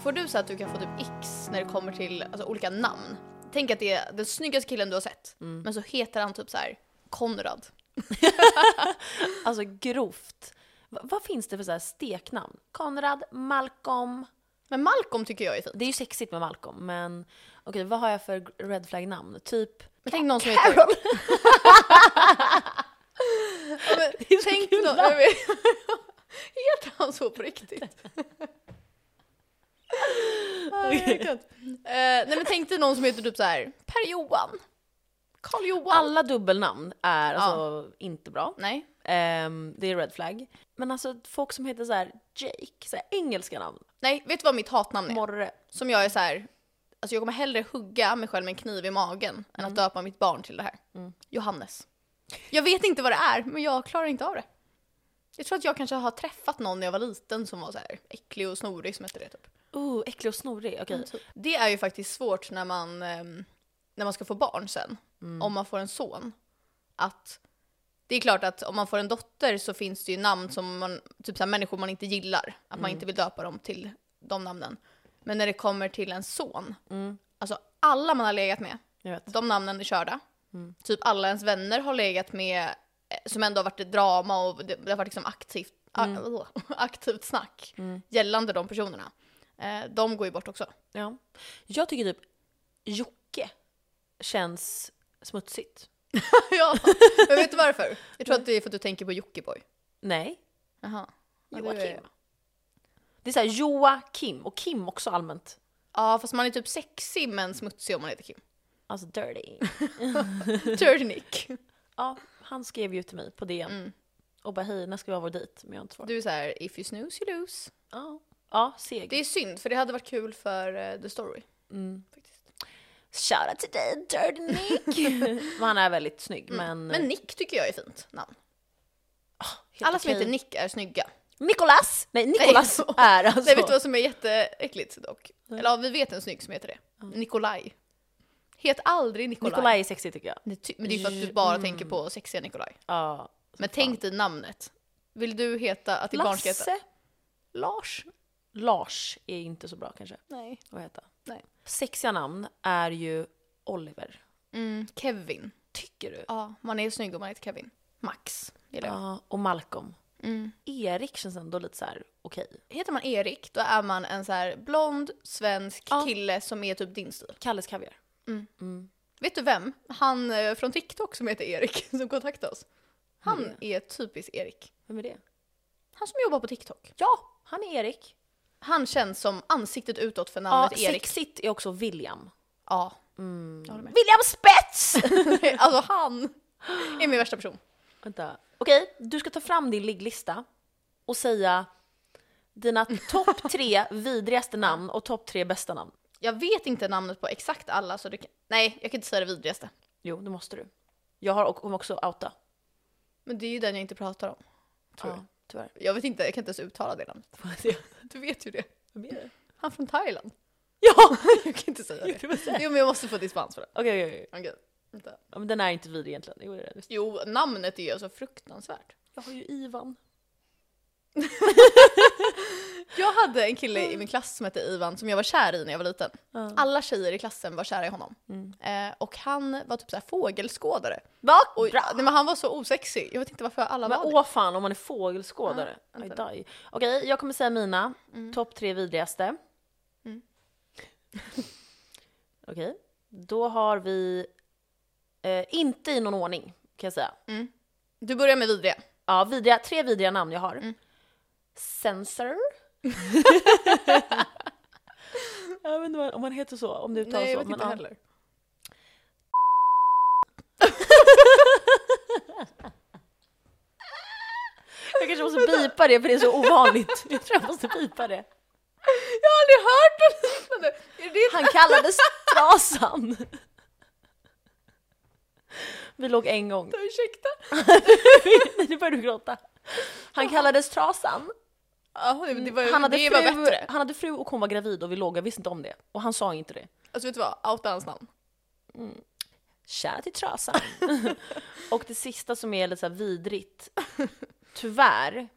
Speaker 2: Får du så att du kan få typ X när det kommer till alltså, olika namn? Tänk att det är den snyggaste killen du har sett,
Speaker 1: Mm.
Speaker 2: men så heter han typ så här Konrad.
Speaker 1: Alltså grovt. Va- vad finns det för så här steknamn? Konrad, Malcolm.
Speaker 2: Men Malcolm tycker jag är fint.
Speaker 1: Det är ju sexigt med Malcolm, men okej, vad har jag för g- red flag namn? Typ
Speaker 2: Men tänk någon som heter...
Speaker 1: Carol.
Speaker 2: Ja, men,
Speaker 1: Det är så
Speaker 2: tänk
Speaker 1: kul
Speaker 2: någon,
Speaker 1: namn.
Speaker 2: jag vet, heter han så på riktigt? Nej, jag kan inte. Eh, nej men tänk dig någon som heter typ så här Per-Johan. Karl-Johan.
Speaker 1: Alla dubbelnamn är alltså inte bra.
Speaker 2: Nej.
Speaker 1: Ehm, det är red flag. Men alltså folk som heter så här Jake, så här engelska namn.
Speaker 2: nej, vet du vad mitt hatnamn är?
Speaker 1: Morre.
Speaker 2: Som jag är så här, alltså jag kommer hellre hugga mig själv med en kniv i magen än att döpa mitt barn till det här. Johannes. Jag vet inte vad det är, men jag klarar inte av det. Jag tror att jag kanske har träffat någon när jag var liten som var så här äcklig och snorig som hette det typ.
Speaker 1: Oh, äcklig och snorig. Okej.
Speaker 2: Mm, Det är ju faktiskt svårt när man, ehm, när man ska få barn sen, om man får en son. Att det är klart att om man får en dotter så finns det ju namn som man, typ så här, människor man inte gillar, att man inte vill döpa dem till de namnen. Men när det kommer till en son, alltså alla man har legat med,
Speaker 1: Mm, Jag vet.
Speaker 2: de namnen är körda. Typ alla ens vänner har legat med, eh, som ändå har varit ett drama och det, det har varit liksom aktivt, a- aktivt snack gällande de personerna. Eh, de går ju bort också.
Speaker 1: Ja. Jag tycker typ Jocke känns smutsigt.
Speaker 2: ja, men vet du varför? Jag tror att det är för att du tänker på Jockiboi.
Speaker 1: Nej.
Speaker 2: Jaha. Ja, det är-
Speaker 1: Joakim. Det är såhär Joakim och Kim också allmänt.
Speaker 2: Ja, fast man är typ sexig men smutsig om man heter Kim.
Speaker 1: Alltså dirty.
Speaker 2: Dirty Nick.
Speaker 1: Ja, han skrev ju till mig på DM. Och bara hej, när ska vi ha vår dejt? Men jag har inte svarat.
Speaker 2: Mm. Du är så här, if you snooze you lose.
Speaker 1: Ja, ja seg. Mm.
Speaker 2: Det är synd, för det hade varit kul för eh, the story. Faktiskt.
Speaker 1: Shoutout till dig dirty Nick. men han är väldigt snygg. Men,
Speaker 2: Mm. Men Nick tycker jag är fint namn.
Speaker 1: helt
Speaker 2: Alla som
Speaker 1: okej.
Speaker 2: heter Nick är snygga.
Speaker 1: Nikolas! Nej, Nikolas
Speaker 2: Nej.
Speaker 1: är alltså...
Speaker 2: Nej, vet du vad som är jätteäckligt dock? Eller ja, vi vet en snygg som heter det. Nikolaj. Het aldrig Nikolaj.
Speaker 1: Nikolaj Mm. är sexig tycker jag.
Speaker 2: Det ty- Men det är ju för att du bara tänker på sexiga Nikolaj.
Speaker 1: Ja.
Speaker 2: Men tänk dig namnet. Vill du heta att ditt barn ska heta?
Speaker 1: Lasse?
Speaker 2: Lars?
Speaker 1: Lars är inte så bra kanske
Speaker 2: Nej.
Speaker 1: att heta.
Speaker 2: Nej.
Speaker 1: Sexiga namn är ju Oliver.
Speaker 2: Mm, Kevin.
Speaker 1: Tycker du?
Speaker 2: Ja, man är snygg om man heter Kevin. Max gillar jag.
Speaker 1: Ja, och Malcolm.
Speaker 2: Mm.
Speaker 1: Erik känns ändå lite så här okej.
Speaker 2: Heter man Erik, då är man en så här blond, svensk
Speaker 1: Ja.
Speaker 2: kille som är typ din stil.
Speaker 1: Kalles Kaviar.
Speaker 2: Vet du vem? Han eh, från TikTok som heter Erik, som kontaktade oss. Han är typisk Erik.
Speaker 1: Vem är det?
Speaker 2: Han som jobbar på TikTok.
Speaker 1: Ja, han är Erik.
Speaker 2: Han känns som ansiktet utåt för
Speaker 1: Ja,
Speaker 2: namnet Erik.
Speaker 1: sexigt är också William.
Speaker 2: Ja. Jag håller med.
Speaker 1: William Spets!
Speaker 2: alltså han är min värsta person.
Speaker 1: Vänta. Okej, du ska ta fram din ligglista och säga dina topp tre vidrigaste namn och topp tre bästa namn.
Speaker 2: Jag vet inte namnet på exakt alla så det kan... Nej, jag kan inte säga det vidrigaste.
Speaker 1: Jo, det måste du. Jag har kommer också outa.
Speaker 2: Men det är ju den jag inte pratar om. Tror
Speaker 1: Ja, tyvärr.
Speaker 2: jag. jag vet inte, jag kan inte ens uttala det namnet. Du vet ju det. Han från Thailand.
Speaker 1: Ja!
Speaker 2: Jag kan inte säga
Speaker 1: Jo,
Speaker 2: det.
Speaker 1: det var så här.
Speaker 2: Jo men jag måste få dispens för det.
Speaker 1: Okej, okej, okej.
Speaker 2: Okej. vänta.
Speaker 1: Ja, men Den är inte vidrig egentligen. Jo, det är det.
Speaker 2: Jo, namnet är ju alltså fruktansvärt.
Speaker 1: Jag har ju Ivan.
Speaker 2: Jag hade en kille i min klass som hette Ivan som jag var kär i när jag var liten.
Speaker 1: Ja.
Speaker 2: Alla tjejer i klassen var kära i honom.
Speaker 1: Mm.
Speaker 2: Eh, och han var typ såhär fågelskådare.
Speaker 1: Va?
Speaker 2: Och,
Speaker 1: Bra!
Speaker 2: nej, men han var så osexig. Jag vet inte varför alla
Speaker 1: Men
Speaker 2: var det.
Speaker 1: åh fan om man är fågelskådare.
Speaker 2: Ja,
Speaker 1: I
Speaker 2: vänta.
Speaker 1: die. Okej, jag kommer säga mina.
Speaker 2: Mm.
Speaker 1: Topp tre vidrigaste.
Speaker 2: Mm.
Speaker 1: Okej, då har vi eh, inte i någon ordning kan jag säga.
Speaker 2: Mm. Du börjar med vidriga.
Speaker 1: Ja, vidriga, tre vidriga namn jag har.
Speaker 2: Mm.
Speaker 1: Sensor. jag vet inte vad- om man heter så, om det uttalas
Speaker 2: Nej, jag
Speaker 1: så.
Speaker 2: vet
Speaker 1: men
Speaker 2: inte
Speaker 1: ja.
Speaker 2: heller.
Speaker 1: Jag kanske måste bipa det för det är så ovanligt. Jag tror jag måste bipa det.
Speaker 2: Jag har aldrig hört något liknande! Är det
Speaker 1: Han kallades Trasan. Vi låg en gång.
Speaker 2: ditt? Ursäkta?
Speaker 1: Nu börjar du gråta. Han kallades Trasan.
Speaker 2: Ja, det, det var,
Speaker 1: Han hade,
Speaker 2: det var
Speaker 1: fru,
Speaker 2: bättre.
Speaker 1: han hade fru och hon var gravid och vi låg, jag visste inte om det. Och han sa inte det.
Speaker 2: Alltså vet du vad? Outa hans namn.
Speaker 1: Kära till Trasan. och det sista som är lite så här vidrigt, tyvärr,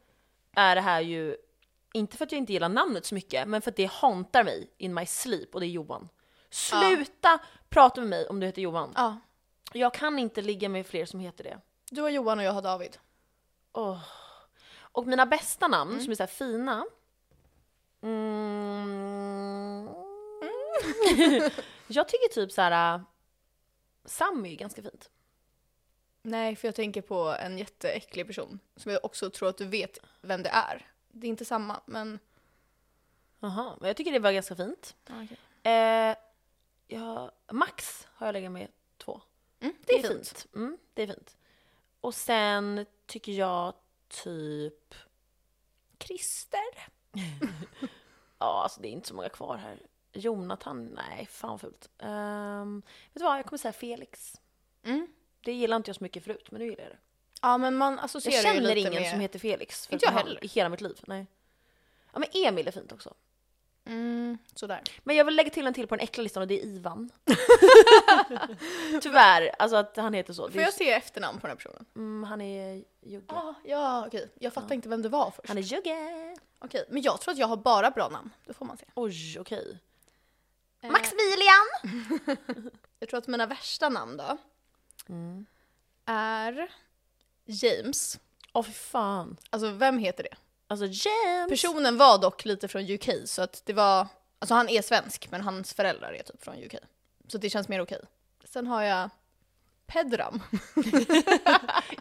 Speaker 1: är det här ju, inte för att jag inte gillar namnet så mycket, men för att det hauntar mig in my sleep och det är Johan. Sluta prata med mig om du heter Johan.
Speaker 2: Ja.
Speaker 1: Jag kan inte ligga med fler som heter det.
Speaker 2: Du har Johan och jag har David.
Speaker 1: Åh. Och mina bästa namn som är så här fina. Mm. jag tycker typ så här. äh, Sammy är ganska fint.
Speaker 2: Nej, för jag tänker på en jätteäcklig person som jag också tror att du vet vem det är. Det är inte samma, men...
Speaker 1: Aha, men jag tycker det var ganska fint. Eh, ja, Max har jag legat med två.
Speaker 2: Mm,
Speaker 1: Det är, fint. Mm, det är fint. Och sen tycker jag typ Christer. ja, alltså det är inte så många kvar här. Jonathan, nej fan fult. Ehm, vet du vad, jag kommer säga Felix.
Speaker 2: Mm.
Speaker 1: Det gillar inte jag så mycket förut, men nu gillar jag det.
Speaker 2: Ja, men man associerar
Speaker 1: jag
Speaker 2: ju
Speaker 1: känner
Speaker 2: lite
Speaker 1: ingen
Speaker 2: med...
Speaker 1: som heter Felix.
Speaker 2: Inte jag
Speaker 1: förutom han
Speaker 2: heller.
Speaker 1: I hela mitt liv, nej. Ja men Emil är fint också.
Speaker 2: Mm, sådär.
Speaker 1: Men jag vill lägga till en till på den äckliga listan och det är Ivan. Tyvärr, alltså att han heter så. Det
Speaker 2: Får
Speaker 1: är,
Speaker 2: jag se efternamn på den här personen?
Speaker 1: mm, han är jugge.
Speaker 2: Ah, ja, okej. Jag fattar inte vem det var först.
Speaker 1: Han är jugge.
Speaker 2: Okej, men jag tror att jag har bara bra namn. Det får man se.
Speaker 1: Oj, okej.
Speaker 2: Eh,
Speaker 1: Maximilian!
Speaker 2: Jag tror att mina värsta namn då
Speaker 1: Mm.
Speaker 2: är James.
Speaker 1: Åh fy fan.
Speaker 2: Alltså vem heter det?
Speaker 1: Alltså James!
Speaker 2: Personen var dock lite från UK så att det var, alltså han är svensk men hans föräldrar är typ från UK. Så det känns mer okej. Sen har jag Pedram.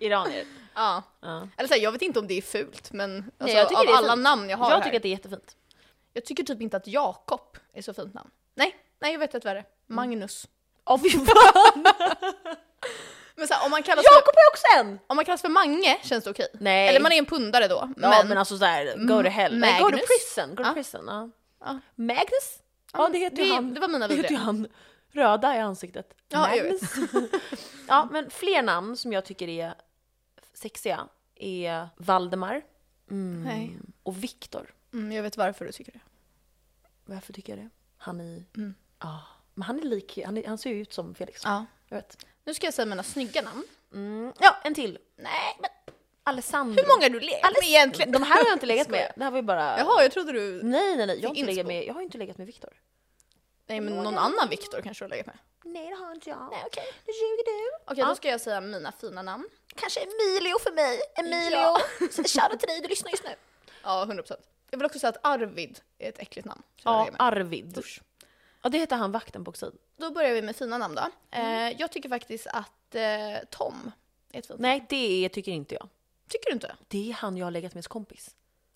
Speaker 1: Iranier.
Speaker 2: ja.
Speaker 1: Ja.
Speaker 2: Eller så här, jag vet inte om det är fult men alltså,
Speaker 1: jag tycker
Speaker 2: av
Speaker 1: det är
Speaker 2: alla
Speaker 1: fint.
Speaker 2: namn jag har
Speaker 1: Jag
Speaker 2: här.
Speaker 1: tycker att det är jättefint.
Speaker 2: Jag tycker typ inte att Jakob är så fint namn. Nej, nej jag vet ett värre.
Speaker 1: Mm.
Speaker 2: Magnus.
Speaker 1: Åh fy fan!
Speaker 2: Men så här, om, man kallas för,
Speaker 1: Jakob är också en!
Speaker 2: om man kallas för Mange känns det okej.
Speaker 1: Nej.
Speaker 2: Eller man är en pundare då. Men, Mm,
Speaker 1: Ja men alltså såhär, go to hell. Nej, go to
Speaker 2: Magnus.
Speaker 1: prison. Go to
Speaker 2: Ja.
Speaker 1: prison. Ja.
Speaker 2: Ja.
Speaker 1: Magnus? Ja det heter ju
Speaker 2: det,
Speaker 1: han.
Speaker 2: det var mina
Speaker 1: Det heter ju
Speaker 2: vidriga.
Speaker 1: han. Röda i ansiktet.
Speaker 2: Ja, jag vet.
Speaker 1: ja men fler namn som jag tycker är sexiga är Valdemar. Mm.
Speaker 2: Nej.
Speaker 1: Och Viktor.
Speaker 2: Mm, jag vet varför du tycker det.
Speaker 1: Varför tycker jag det? Han är...
Speaker 2: Mm.
Speaker 1: Ja. Men han är lik, han, är, han ser ju ut som Felix.
Speaker 2: Ja.
Speaker 1: Jag vet.
Speaker 2: Nu ska jag säga mina snygga namn.
Speaker 1: Mm. Ja, en till.
Speaker 2: Nej, men
Speaker 1: Alessandro.
Speaker 2: hur många har du legat med egentligen?
Speaker 1: De här har jag inte legat
Speaker 2: Skojar.
Speaker 1: med. Det här var ju bara...
Speaker 2: Jaha, jag trodde du...
Speaker 1: Nej, nej, nej. Jag har, inte
Speaker 2: inspo.
Speaker 1: legat med, jag har inte legat med Viktor.
Speaker 2: Nej, men någon annan Viktor kanske du har legat med.
Speaker 1: Nej, det har inte jag.
Speaker 2: Nej, okej.
Speaker 1: Nu ljuger du.
Speaker 2: Okej, då ska jag säga mina fina namn.
Speaker 1: Kanske Emilio för mig. Emilio.
Speaker 2: Ja.
Speaker 1: Shoutout till dig, du lyssnar just nu.
Speaker 2: Ja, 100%. Jag vill också säga att Arvid är ett äckligt namn. som jag har
Speaker 1: Ja,
Speaker 2: legat med.
Speaker 1: Arvid.
Speaker 2: Usch.
Speaker 1: Ja, det heter han vakten på Oxid.
Speaker 2: Då börjar vi med fina namn då. Eh, jag tycker faktiskt att eh, Tom är ett fint namn.
Speaker 1: Mm. Nej, det är, tycker inte jag.
Speaker 2: Tycker du inte?
Speaker 1: Det är han jag har legat med som kompis.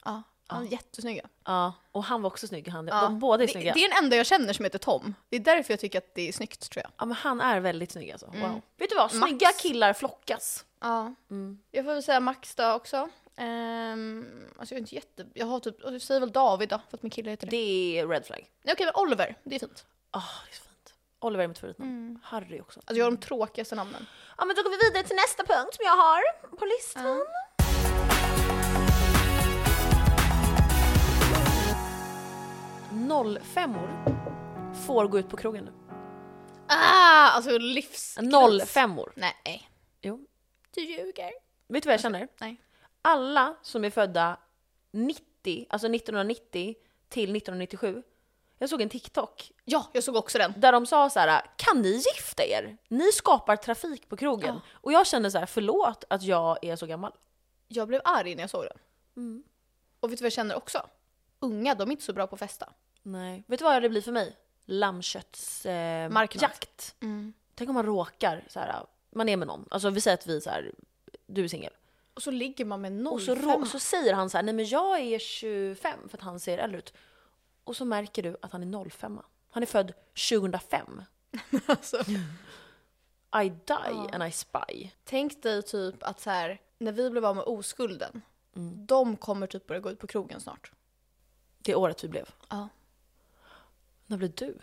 Speaker 2: Ja, han är jättesnygg.
Speaker 1: Ja, och han var också snygg. Han,
Speaker 2: Ja.
Speaker 1: De båda är
Speaker 2: Det, det
Speaker 1: snygga.
Speaker 2: är den enda jag känner som heter Tom. Det är därför jag tycker att det är snyggt tror jag.
Speaker 1: Ja men han är väldigt snygg alltså. Wow. Vet du vad? Snygga killar flockas.
Speaker 2: Ja.
Speaker 1: Mm.
Speaker 2: Jag får väl säga Max då också. Ehm, alltså jag är inte jätte... Jag har typ... Jag säger väl David då, för att min kille heter det.
Speaker 1: Det är red flag.
Speaker 2: Nej, okej, men Oliver. Det är fint.
Speaker 1: Ah, det är så fint. Oliver är mitt favoritnamn. Harry också.
Speaker 2: Alltså jag har de tråkigaste namnen.
Speaker 1: Ja men då går vi vidare till nästa punkt som jag har på listan. Noll femmor får gå ut på krogen nu.
Speaker 2: Ah, alltså livs...
Speaker 1: Noll femmor.
Speaker 2: Nej.
Speaker 1: Jo.
Speaker 2: Du ljuger.
Speaker 1: Vet du vad jag känner?
Speaker 2: Alltså, Nej.
Speaker 1: alla som är födda 90, alltså 1990 till 1997, jag såg en TikTok
Speaker 2: Ja, jag såg också den.
Speaker 1: där de sa så här: kan ni gifta er? Ni skapar trafik på krogen.
Speaker 2: Ja.
Speaker 1: Och jag kände så här: förlåt att jag är så gammal.
Speaker 2: Jag blev arg när jag såg den. Mm. Och vet du vad jag känner också? Unga, de är inte så bra på att festa.
Speaker 1: Nej. Vet du vad det blir för mig? Lammköttsjakt. Eh,
Speaker 2: Marknad.
Speaker 1: jakt.
Speaker 2: Mm.
Speaker 1: Tänk om man råkar, så här, man är med någon, alltså vi säger att vi så här, du är singel.
Speaker 2: Och så ligger man med 05.
Speaker 1: Och så, rå- så säger han så här, nej men jag är 25 för att han ser äldre ut. Och så märker du att han är 05. Han är född 2005.
Speaker 2: alltså.
Speaker 1: I die and I spy.
Speaker 2: Tänk dig typ att så här, när vi blev av med oskulden, de kommer typ börja gå ut på krogen snart.
Speaker 1: Det året vi blev.
Speaker 2: Ja.
Speaker 1: När blev du?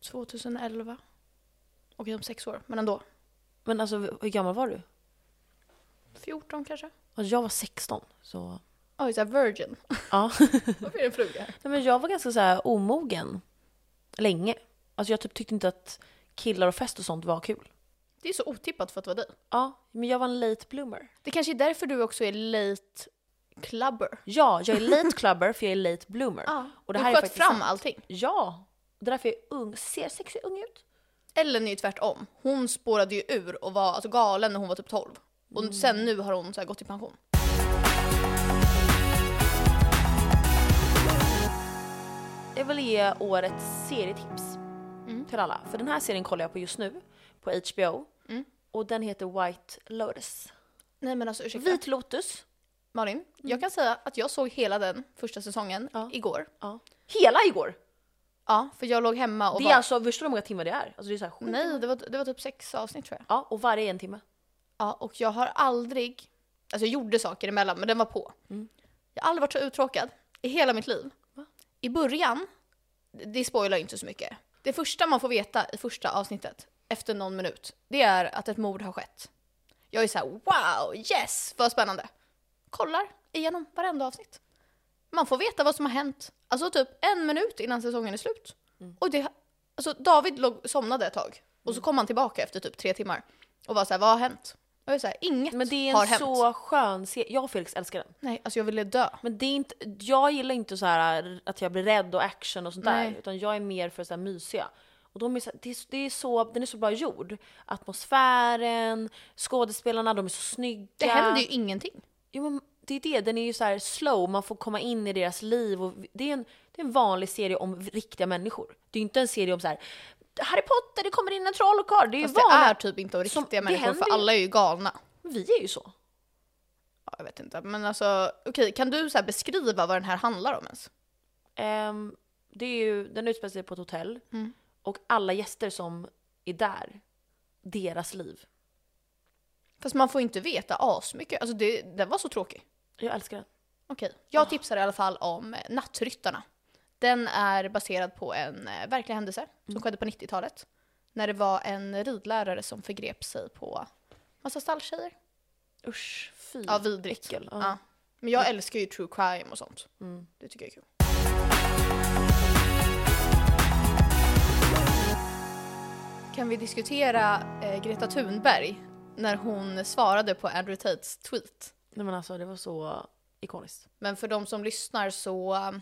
Speaker 2: 2011. Okej, om sex år, men ändå.
Speaker 1: Men alltså hur gammal var du?
Speaker 2: 14 kanske?
Speaker 1: Alltså, jag var 16. Så
Speaker 2: Oj, så här virgin.
Speaker 1: ja.
Speaker 2: Varför är det en fluga här?
Speaker 1: Nej, men jag var ganska så här omogen länge. Alltså jag typ tyckte inte att killar och fest och sånt var kul.
Speaker 2: Det är så otippat för att vara dig.
Speaker 1: Ja, men jag var en late bloomer.
Speaker 2: Det kanske är därför du också är late clubber.
Speaker 1: Ja, jag är late clubber för jag är late bloomer.
Speaker 2: Ja,
Speaker 1: Och
Speaker 2: och
Speaker 1: det
Speaker 2: det
Speaker 1: här är
Speaker 2: du sköt
Speaker 1: faktiskt
Speaker 2: fram
Speaker 1: sant.
Speaker 2: allting.
Speaker 1: Ja, det är därför jag är ung. Ser sexig ung ut.
Speaker 2: Ellen är ju tvärtom. Hon spårade ju ur och var alltså, galen när hon var typ 12. Och sen nu har hon så här, gått i pension.
Speaker 1: Jag vill ge årets serietips
Speaker 2: Mm.
Speaker 1: till alla. För den här serien kollar jag på just nu på HBO.
Speaker 2: Mm.
Speaker 1: Och den heter White Lotus.
Speaker 2: Nej men alltså ursäkta.
Speaker 1: Vit Lotus.
Speaker 2: Malin, jag kan säga att jag såg hela den första säsongen
Speaker 1: Ja.
Speaker 2: igår.
Speaker 1: Ja. Hela igår!
Speaker 2: Ja, för jag låg hemma och
Speaker 1: Det
Speaker 2: var...
Speaker 1: är alltså, förstår du hur många timmar det är? Alltså det är så här sjukt.
Speaker 2: Nej, det var, det var typ sex avsnitt tror jag.
Speaker 1: Ja, och varje är en timme.
Speaker 2: Ja, och jag har aldrig... Alltså jag gjorde saker emellan, men den var på. Jag har aldrig varit så uttråkad i hela mitt liv. I början, det spoilar ju inte så mycket. Det första man får veta i första avsnittet, efter någon minut, det är att ett mord har skett. Jag är så här: wow, yes, vad spännande. Kollar igenom varenda avsnitt. Man får veta vad som har hänt. Alltså typ en minut innan säsongen är slut.
Speaker 1: Mm.
Speaker 2: Och det, alltså David låg, somnade ett tag och så kom han tillbaka efter typ tre timmar och var så här, vad har hänt? Och jag är så här, inget
Speaker 1: Men det är
Speaker 2: har
Speaker 1: en
Speaker 2: hänt.
Speaker 1: så skön serie. Jag och Felix älskar den.
Speaker 2: Nej, alltså jag ville dö.
Speaker 1: Men det är inte, jag gillar inte så här att jag blir rädd och action och sånt
Speaker 2: Nej.
Speaker 1: där. Utan jag är mer för så här mysiga. Och de är så, det är, det är så, den är så bra gjord. Atmosfären, skådespelarna, de är så snygga.
Speaker 2: Det händer ju ingenting.
Speaker 1: Jo, men det är det, den är ju så här slow, man får komma in i deras liv. Och det, är en, det är en vanlig serie om riktiga människor. Det är ju inte en serie om så här Harry Potter, det kommer in en trollkarl. Det är ju
Speaker 2: Fast det
Speaker 1: vanliga.
Speaker 2: är typ inte av
Speaker 1: Som-
Speaker 2: riktiga
Speaker 1: det
Speaker 2: människor
Speaker 1: händer
Speaker 2: för
Speaker 1: ju-
Speaker 2: alla är ju galna.
Speaker 1: Vi är ju så.
Speaker 2: Ja, jag vet inte, men alltså okej, kan du så här beskriva vad den här handlar om ens?
Speaker 1: Ehm, det är ju, den utspelar sig på ett hotell.
Speaker 2: Mm.
Speaker 1: Och alla gäster som är där, deras liv.
Speaker 2: Fast man får inte veta asmycket, alltså det, den var så tråkig.
Speaker 1: Jag älskar den.
Speaker 2: Okej,
Speaker 1: Ah.
Speaker 2: jag tipsar i alla fall om eh, Nattryttarna. Den är baserad på en eh, verklig händelse som
Speaker 1: Mm.
Speaker 2: skedde på 90-talet. När det var en ridlärare som förgrep sig på massa stalltjejer.
Speaker 1: Usch, fy.
Speaker 2: Ja, vidrigt.
Speaker 1: äckel. Ja.
Speaker 2: Ja. Men jag älskar ju true crime och sånt.
Speaker 1: Mm.
Speaker 2: Det tycker jag är kul. Kan vi diskutera eh, Greta Thunberg när hon svarade på Andrew Tates tweet?
Speaker 1: Nej men alltså det var så ikoniskt.
Speaker 2: Men för de som lyssnar så um,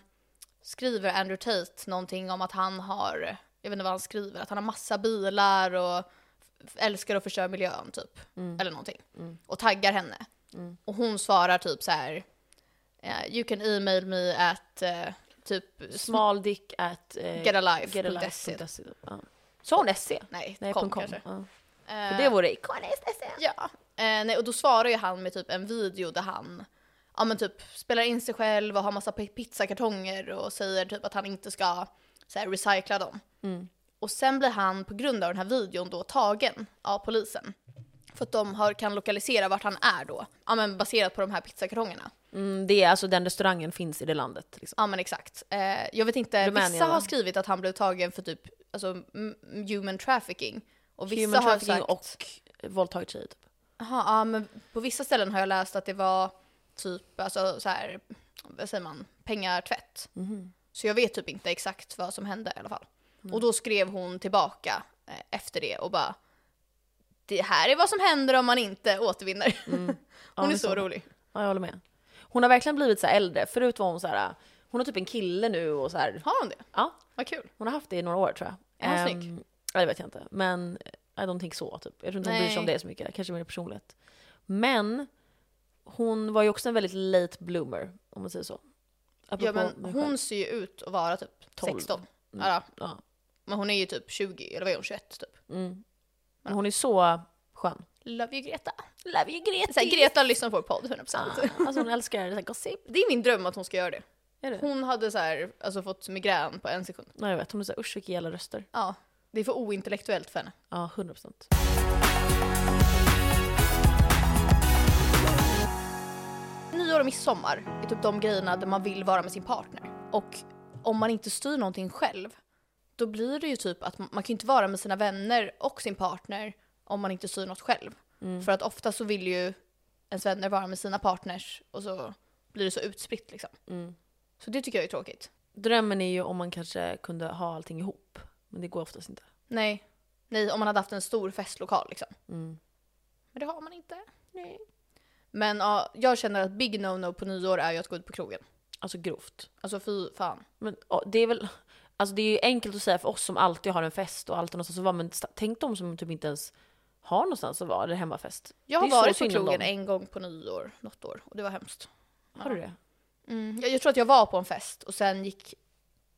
Speaker 2: skriver Andrew Tate någonting om att han har, jag vet inte vad han skriver, att han har massa bilar och f- älskar att förstöra miljön typ.
Speaker 1: Mm.
Speaker 2: Eller någonting. Och taggar henne. Och hon svarar typ så här, eh, you can email me at eh, typ
Speaker 1: Small dick at eh,
Speaker 2: getalife.se.
Speaker 1: getalife.se. E. Ja. Sa hon SC?
Speaker 2: Nej,
Speaker 1: Nej,
Speaker 2: E. kom,
Speaker 1: .com.
Speaker 2: kanske.
Speaker 1: Ja.
Speaker 2: Eh,
Speaker 1: Och det vore ikoniskt E. SC.
Speaker 2: Ja. Eh, nej, och då svarar ju han med typ en video där han ja, men typ, spelar in sig själv och har massa pi- pizzakartonger och säger typ att han inte ska så här, recycla dem.
Speaker 1: Mm.
Speaker 2: Och sen blir han på grund av den här videon då tagen av polisen. För att de har, kan lokalisera vart han är då, ja, men baserat på de här pizzakartongerna.
Speaker 1: Mm, det är alltså den restaurangen finns i det landet. Liksom.
Speaker 2: Ja men exakt. Eh, jag vet inte,
Speaker 1: Rumänien,
Speaker 2: vissa
Speaker 1: va?
Speaker 2: har skrivit att han blev tagen för typ alltså, m- human trafficking. Och vissa
Speaker 1: Human
Speaker 2: har
Speaker 1: trafficking
Speaker 2: sagt,
Speaker 1: och våldtagit tjejer typ.
Speaker 2: Jaha, ja, men på vissa ställen har jag läst att det var typ, alltså så här, vad säger man, pengatvätt.
Speaker 1: Mhm.
Speaker 2: Så jag vet typ inte exakt vad som hände i alla fall.
Speaker 1: Mm.
Speaker 2: Och då skrev hon tillbaka eh, efter det och bara det här är vad som händer om man inte återvinner. hon
Speaker 1: Mm. men
Speaker 2: är så
Speaker 1: så.
Speaker 2: rolig.
Speaker 1: Ja, jag håller med. Hon har verkligen blivit så här äldre. Förut var hon så här, hon har typ en kille nu och så här,
Speaker 2: Har hon det?
Speaker 1: ja,
Speaker 2: Vad kul.
Speaker 1: hon har haft det i några år tror jag.
Speaker 2: Är hon
Speaker 1: Ehm,
Speaker 2: snygg?
Speaker 1: ja, det vet jag inte. Men I don't think so, typ. Jag tror inte hon bryr sig om
Speaker 2: Nej.
Speaker 1: det så mycket. Kanske mer personligt. Men hon var ju också en väldigt late bloomer, om man säger så. Apropå
Speaker 2: Ja, men
Speaker 1: mig själv.
Speaker 2: hon ser ju ut att vara typ
Speaker 1: Tolv.
Speaker 2: 16.
Speaker 1: Mm.
Speaker 2: Ja,
Speaker 1: Ja.
Speaker 2: men hon är ju typ 20, eller vad är hon, 21 typ?
Speaker 1: Mm. Men hon är så skön.
Speaker 2: Love you Greta.
Speaker 1: Love you Greta!
Speaker 2: Så här, Greta lyssnar på vår podd 100%.
Speaker 1: alltså hon älskar så här, gossip.
Speaker 2: Det är min dröm att hon ska göra det.
Speaker 1: Är det?
Speaker 2: Hon hade så här, alltså, fått migrän på en sekund.
Speaker 1: Nej, jag vet. Hon är såhär, usch vilka jävla röster.
Speaker 2: Ja. Det är för ointellektuellt för henne.
Speaker 1: Ja, 100%.
Speaker 2: Nyår och midsommar är typ de grejerna där man vill vara med sin partner. Och om man inte styr någonting själv, då blir det ju typ att man man kan ju inte vara med sina vänner och sin partner om man inte styr något själv.
Speaker 1: Mm,
Speaker 2: För att ofta så vill ju ens vänner vara med sina partners och så blir det så utspritt liksom.
Speaker 1: Mm.
Speaker 2: Så det tycker jag är tråkigt.
Speaker 1: Drömmen är ju om man kanske kunde ha allting ihop. Men det går oftast inte.
Speaker 2: Nej, nej om man hade haft en stor festlokal liksom.
Speaker 1: Mm.
Speaker 2: Men det har man inte. Nej. Men ja, jag känner att big no-no på nyår är ju att gå ut på krogen.
Speaker 1: Alltså grovt.
Speaker 2: Alltså fy fan.
Speaker 1: Men ja, det är väl... Alltså det är ju enkelt att säga för oss som alltid har en fest och alltid någonstans att vara, men sta- tänk de som typ inte ens har någonstans att vara, eller hemmafest.
Speaker 2: Jag
Speaker 1: Det är så
Speaker 2: har varit på
Speaker 1: synd om
Speaker 2: krogen
Speaker 1: dem.
Speaker 2: en gång på nyår, något år, och det var hemskt.
Speaker 1: Har du det?
Speaker 2: Mm. Jag, jag tror att jag var på en fest och sen gick...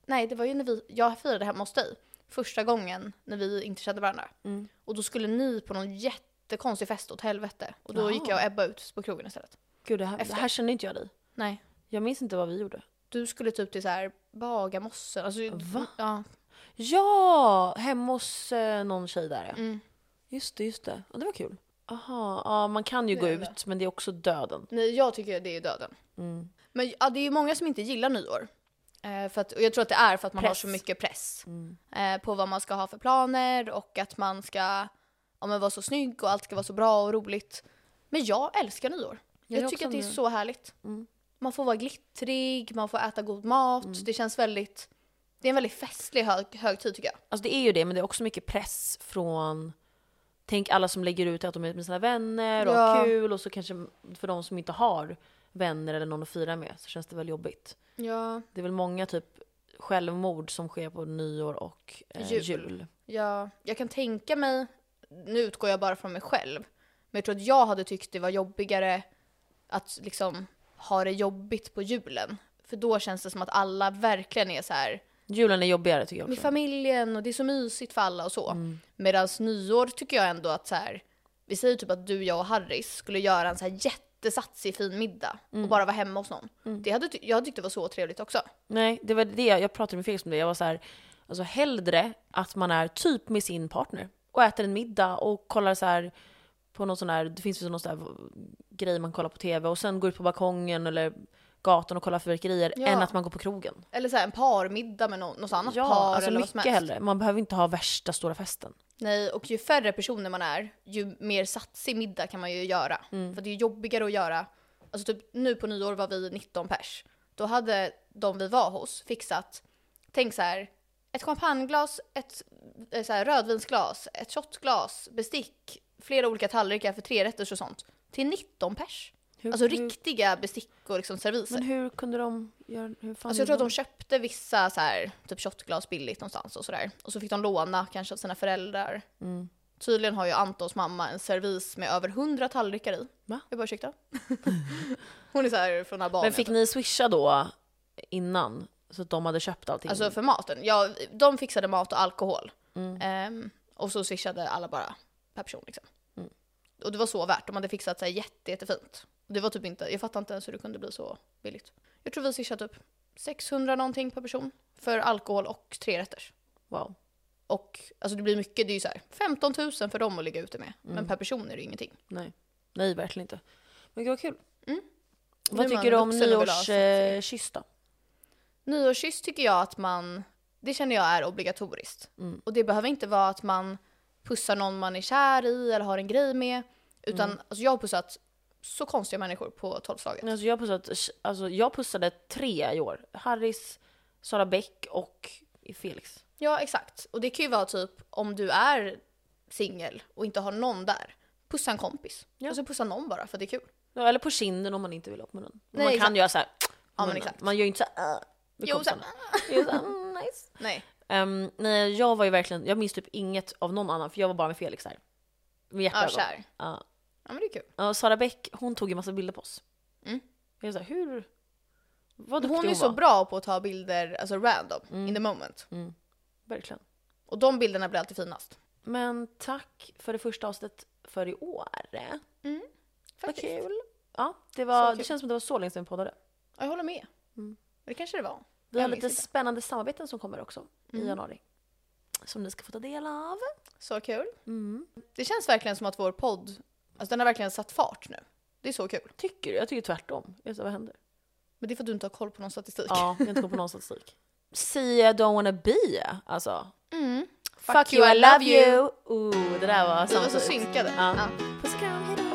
Speaker 2: Nej, det var ju när vi... Jag firade hemma hos dig första gången när vi inte kände varandra.
Speaker 1: Mm.
Speaker 2: Och då skulle ni på någon jättekonstig fest åt helvete. Och då
Speaker 1: Jaha.
Speaker 2: gick jag och Ebba ut på krogen istället.
Speaker 1: Gud, det här, det
Speaker 2: Efter.
Speaker 1: här känner inte jag dig.
Speaker 2: Nej.
Speaker 1: Jag minns inte vad vi gjorde.
Speaker 2: Du skulle typ till så här Bagarmossen. Alltså,
Speaker 1: Va?
Speaker 2: Ja.
Speaker 1: Ja! Hemma hos eh, någon tjej där ja.
Speaker 2: Mm.
Speaker 1: Just det, just det. Ja, det var kul. Aha, ja man kan ju
Speaker 2: Det
Speaker 1: gå
Speaker 2: är det.
Speaker 1: ut men det är också döden.
Speaker 2: Nej, jag tycker det är döden.
Speaker 1: Mm.
Speaker 2: Men ja, det är ju många som inte gillar nyår. Eh, för att, och jag tror att det är för att man har
Speaker 1: Press.
Speaker 2: så mycket press.
Speaker 1: Mm.
Speaker 2: eh, på vad man ska ha för planer och att man ska ja, men vara så snygg och allt ska vara så bra och roligt. Men jag älskar nyår.
Speaker 1: Jag
Speaker 2: Jag,
Speaker 1: är också
Speaker 2: tycker att det är
Speaker 1: nyår.
Speaker 2: så härligt.
Speaker 1: Mm.
Speaker 2: Man får vara glittrig, man får äta god mat. Det känns väldigt... Det är en väldigt festlig hög, högtid tycker jag.
Speaker 1: Alltså det är ju det men det är också mycket press från Tänk alla som lägger ut att de är med sina vänner och har
Speaker 2: Ja.
Speaker 1: kul och så kanske för de som inte har vänner eller någon att fira med så känns det väl jobbigt.
Speaker 2: Ja,
Speaker 1: Det är väl många typ självmord som sker på nyår och eh, jul.
Speaker 2: Jul. ja. Jag kan tänka mig... Nu utgår jag bara från mig själv. Men jag tror att jag hade tyckt det var jobbigare att liksom ha det jobbigt på julen. För då känns det som att alla verkligen är så här...
Speaker 1: Julen är jobbigare tycker jag
Speaker 2: med
Speaker 1: också.
Speaker 2: familjen och det är så mysigt för alla och så.
Speaker 1: Liksom. Mm.
Speaker 2: Medan nyår tycker jag ändå att så här, vi säger typ att du, jag och Harris skulle göra en så här jättesatsig fin middag
Speaker 1: Mm.
Speaker 2: och bara vara hemma hos någon. Det hade, ty- jag tyckte det var så trevligt också.
Speaker 1: Nej, det var det jag, jag pratade med Felix om det. Jag var så här, alltså hellre att man är typ med sin partner och äter en middag och kollar så här på någon sån här, det finns ju någon sån här grej man kollar på tv och sen går ut på balkongen eller gatan och kollar fyrverkerier
Speaker 2: Ja.
Speaker 1: än att man går på krogen.
Speaker 2: Eller så här en parmiddag med någon, något annat
Speaker 1: Ja,
Speaker 2: par
Speaker 1: alltså
Speaker 2: eller vad som
Speaker 1: mycket
Speaker 2: helst.
Speaker 1: hellre. Man behöver inte ha värsta stora festen.
Speaker 2: Nej, och ju färre personer man är, ju mer satsig middag kan man ju göra. För det är ju jobbigare att göra. Alltså typ nu på nyår var vi 19 pers. Då hade de vi var hos fixat, tänk så här, ett champagneglas, ett eh, så här, rödvinsglas, ett shotglas, bestick, flera olika tallrikar för trerätters och sånt. Till 19 pers.
Speaker 1: Hur,
Speaker 2: Alltså
Speaker 1: hur,
Speaker 2: riktiga bestick och liksom serviser.
Speaker 1: Men hur kunde de göra, hur fan
Speaker 2: Alltså jag tror att
Speaker 1: gjorde
Speaker 2: de köpte vissa så här, typ shotglas billigt någonstans och sådär. Och så fick de låna kanske av sina föräldrar.
Speaker 1: Mm.
Speaker 2: Tydligen har ju Antons mamma en servis med över 100 tallrikar i.
Speaker 1: Va?
Speaker 2: Jag bara ursäkta. Hon är så här från Albanien.
Speaker 1: Men fick ni swisha då innan? Så att de hade köpt allting?
Speaker 2: Alltså för maten. Ja, de fixade mat och alkohol.
Speaker 1: Mm.
Speaker 2: Ehm, och så swishade alla bara per person liksom.
Speaker 1: Mm.
Speaker 2: Och det var så värt. De hade fixat så här jätte, jättefint. Och Det var typ inte, jag fattar inte ens hur det kunde bli så billigt. Jag tror vi swishade typ 600 någonting per person. För alkohol och trerätters.
Speaker 1: wow.
Speaker 2: Och alltså det blir mycket, det är ju så här 15 000 för dem att ligga ute med. Men
Speaker 1: Mm.
Speaker 2: per person är det ju ingenting.
Speaker 1: Nej. Nej, verkligen inte. Men gud vad kul.
Speaker 2: Mm. Nu
Speaker 1: Vad
Speaker 2: är man
Speaker 1: tycker du om
Speaker 2: vuxen och vill ha sig.
Speaker 1: nyårskyss då?
Speaker 2: Nyårskyss tycker jag att man, det känner jag är obligatoriskt.
Speaker 1: Mm.
Speaker 2: Och det behöver inte vara att man pussar någon man är kär i eller har en grej med. Utan
Speaker 1: Mm.
Speaker 2: alltså jag har pussat så konstiga människor på tolvslaget.
Speaker 1: Alltså jag, pussat, alltså jag pussade tre i år. Harris, Sara Bäck och Felix.
Speaker 2: Ja exakt. Och det kan ju vara typ om du är singel och inte har någon där. Pussa en kompis.
Speaker 1: Ja.
Speaker 2: Alltså pussa någon bara för att det är kul.
Speaker 1: Ja, Eller på kinden om man inte vill ha på munnen.
Speaker 2: Nej,
Speaker 1: man kan
Speaker 2: exakt.
Speaker 1: göra så här.
Speaker 2: men
Speaker 1: munnen.
Speaker 2: exakt.
Speaker 1: Man gör ju inte så här. "Äh", med
Speaker 2: Jo, så här, "Äh".
Speaker 1: kompisarna. Det är så här, "Mm, nice.
Speaker 2: Nej.
Speaker 1: Ehm, nej, jag var ju verkligen, jag minns typ inget av någon annan för jag var bara med Felix där. Med
Speaker 2: Ja,
Speaker 1: hjärtat.
Speaker 2: kär.
Speaker 1: Ja.
Speaker 2: Ja, men det är kul.
Speaker 1: Ja, och Sara Bäck, hon tog ju massa bilder på oss.
Speaker 2: Mm.
Speaker 1: Jag är så här, hur? Vad duktig
Speaker 2: Hon är
Speaker 1: hon,
Speaker 2: ju så
Speaker 1: var.
Speaker 2: bra på att ta bilder, alltså random,
Speaker 1: Mm.
Speaker 2: in the moment.
Speaker 1: Verkligen.
Speaker 2: Och de bilderna blir alltid finast.
Speaker 1: Men tack för det första avsnittet för i år. Vad
Speaker 2: Faktiskt.
Speaker 1: kul. Ja, det, var,
Speaker 2: Så
Speaker 1: det
Speaker 2: kul.
Speaker 1: känns som det var så länge sedan vi poddade.
Speaker 2: Ja, jag håller med.
Speaker 1: Mm.
Speaker 2: Det kanske det var.
Speaker 1: Vi har
Speaker 2: Jag
Speaker 1: lite
Speaker 2: minns inte.
Speaker 1: spännande samarbeten som kommer också i januari. Som ni ska få ta del av.
Speaker 2: Så kul. Det känns verkligen som att vår podd, alltså den har verkligen satt fart nu. Det är så kul.
Speaker 1: Tycker du? Jag tycker tvärtom. Jag vet inte, vad händer?
Speaker 2: Men det är för att du inte har koll på någon statistik.
Speaker 1: Ja, jag har inte koll på någon statistik. Sia don't wanna be, alltså.
Speaker 2: Mm.
Speaker 1: Fuck, you, I love you! Ooh, det där var
Speaker 2: Vi var så
Speaker 1: samtidigt.
Speaker 2: synkade.
Speaker 1: Ja.
Speaker 2: Ja.
Speaker 1: Puss och kram, hejdå!